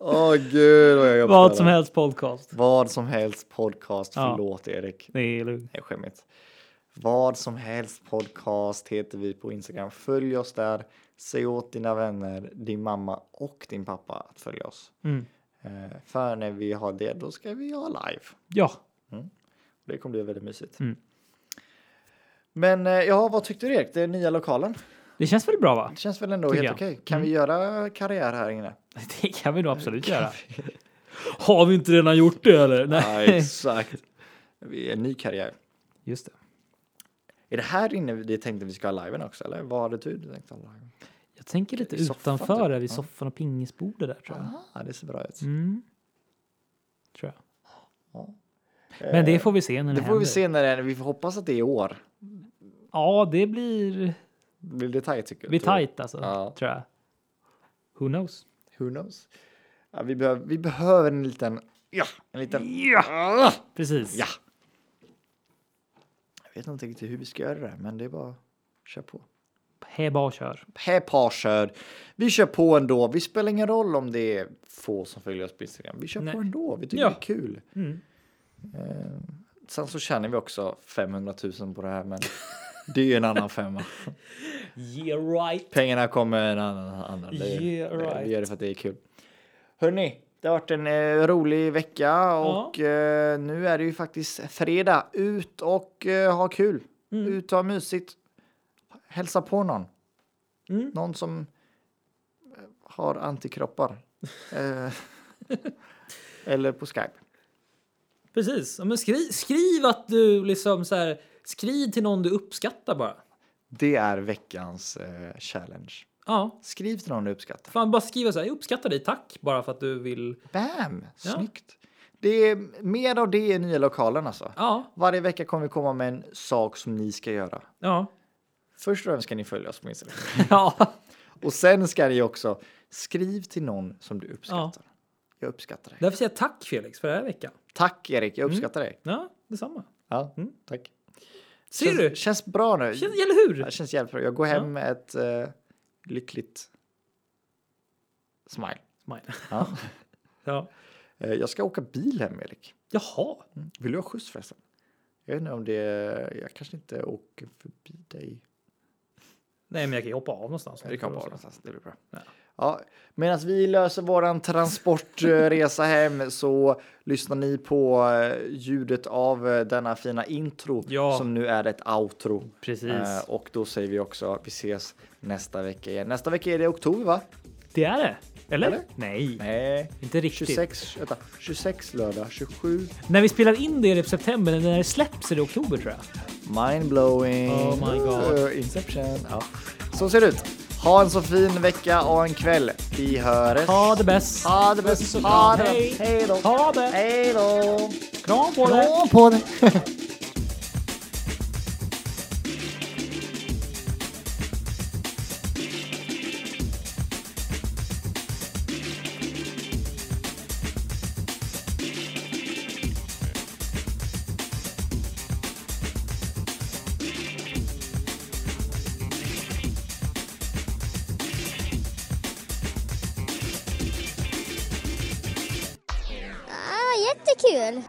Speaker 5: Åh gud, vad jag är jobbskadad.
Speaker 4: Vad som helst podcast.
Speaker 5: Vad som helst podcast,
Speaker 4: Ja.
Speaker 5: förlåt Erik.
Speaker 4: Det är lugnt.
Speaker 5: Nej, skämmigt. Vad som helst podcast heter vi på Instagram. Följ oss där. Säg åt dina vänner, din mamma och din pappa att följa oss.
Speaker 4: Mm.
Speaker 5: Eh, För när vi har det, då ska vi ha live.
Speaker 4: Ja,
Speaker 5: Mm. Det kommer bli väldigt mysigt.
Speaker 4: Mm.
Speaker 5: Men eh, ja, vad tyckte du Erik? Den nya lokalen?
Speaker 4: Det känns väl bra va?
Speaker 5: Det känns väl ändå
Speaker 4: Tycker
Speaker 5: helt
Speaker 4: jag.
Speaker 5: okej? Kan vi göra karriär här inne?
Speaker 4: Det kan vi nog absolut göra. Har vi inte redan gjort det eller?
Speaker 5: Ja, exakt. Vi är en ny karriär.
Speaker 4: Just det.
Speaker 5: Är det här inne vi tänkte vi ska ha liven också? Eller vad hade du tänkt ha liven?
Speaker 4: Jag tänker lite
Speaker 5: I soffan,
Speaker 4: utanför
Speaker 5: typ.
Speaker 4: där vid
Speaker 5: Ja.
Speaker 4: soffan och pingisbordet där tror jag.
Speaker 5: Ah, det ser bra ut.
Speaker 4: Mm. Tror jag. Men det får vi se när det,
Speaker 5: Eh, Det får vi
Speaker 4: händer.
Speaker 5: se när det är. Vi får hoppas att det är i år.
Speaker 4: Ja, det blir,
Speaker 5: Blir det tajt tycker du?
Speaker 4: blir
Speaker 5: Tror du?
Speaker 4: tajt alltså.
Speaker 5: Ja.
Speaker 4: Tror jag. Who knows?
Speaker 5: Who knows? Ja, vi, behöver, vi behöver en liten... Ja, en liten...
Speaker 4: Ja! Precis.
Speaker 5: Ja. Jag vet inte riktigt hur vi ska göra det, här, men det är bara kör på.
Speaker 4: Hej, bara kör.
Speaker 5: Hej parsör. Vi kör på ändå. Vi spelar ingen roll om det är få som följer oss på Instagram. Vi kör
Speaker 4: Nej.
Speaker 5: på ändå. Vi tycker
Speaker 4: Ja.
Speaker 5: det är kul.
Speaker 4: Mm.
Speaker 5: Eh, sen så tjänar vi också 500 000 på det här, men det är ju en annan femma.
Speaker 4: Yeah right.
Speaker 5: Pengarna kommer en annan. annan. Det,
Speaker 4: Yeah,
Speaker 5: det,
Speaker 4: right.
Speaker 5: vi gör det för att det är kul. Hörni, det har varit en eh, rolig vecka och eh, nu är det ju faktiskt fredag. Ut och eh, ha kul. Ut och ha mysigt. Hälsa på någon.
Speaker 4: Mm.
Speaker 5: Någon som eh, har antikroppar. Eh, Eller på Skype.
Speaker 4: Precis. Ja, Men skriv, skriv att du liksom så här. Skriv till någon du uppskattar bara.
Speaker 5: Det är veckans eh, challenge.
Speaker 4: Ja,
Speaker 5: Skriv till någon du uppskattar.
Speaker 4: fan bara skriva så här. Jag uppskattar dig. Tack bara för att du vill.
Speaker 5: Bam!
Speaker 4: Ja.
Speaker 5: Snyggt. Det är mer av det i nya lokalen alltså.
Speaker 4: Ja,
Speaker 5: Varje vecka kommer vi komma med en sak som ni ska göra.
Speaker 4: ja,
Speaker 5: Först och främst ska ni följa oss på Instagram.
Speaker 4: ja.
Speaker 5: Och sen ska ni också skriv till någon som du uppskattar. Jag uppskattar dig.
Speaker 4: Därför säger jag tack Felix för den här veckan.
Speaker 5: Tack Erik, jag uppskattar dig.
Speaker 4: Ja, detsamma.
Speaker 5: Ja, mm, tack.
Speaker 4: Mm. Ser du?
Speaker 5: Känns, känns bra nu.
Speaker 4: Känns, eller
Speaker 5: Ja,
Speaker 4: hur?
Speaker 5: känns jävligt bra. Jag går hem med ett eh, lyckligt smile.
Speaker 4: Mine.
Speaker 5: Ja.
Speaker 4: Ja.
Speaker 5: Eh, jag ska åka bil hem Erik.
Speaker 4: Jaha.
Speaker 5: Vill du ha skjuts förresten? Jag vet inte om det Jag kanske inte åker förbi dig.
Speaker 4: Nej, men jag kan ju hoppa av någonstans.
Speaker 5: Det kan vara någonstans, det blir bra.
Speaker 4: Ja.
Speaker 5: Ja. Medan vi löser våran transportresa hem så lyssnar ni på eh, ljudet av eh, denna fina intro
Speaker 4: Ja.
Speaker 5: som nu är ett outro.
Speaker 4: Precis.
Speaker 5: Eh, Och då säger vi också vi ses nästa vecka igen. Nästa vecka är det oktober va?
Speaker 4: Det är det. Eller?
Speaker 5: Eller?
Speaker 4: Nej,
Speaker 5: Nej.
Speaker 4: inte riktigt.
Speaker 5: 26, vänta, 26 lördag, 27.
Speaker 4: När vi spelar in det är det september, men när det släpps är det oktober tror jag.
Speaker 5: Mindblowing.
Speaker 4: Oh my god.
Speaker 5: Uh, Inception. Ja. Så ser det ut. Ha en så fin vecka och en kväll. Vi hörs.
Speaker 4: Ha det bäst!
Speaker 5: Ha det bäst. Ha det. Hej då.
Speaker 4: Ha det!
Speaker 5: Hej då.
Speaker 4: Kram på dig!
Speaker 5: Kram på dig.
Speaker 1: Ah, jättekul!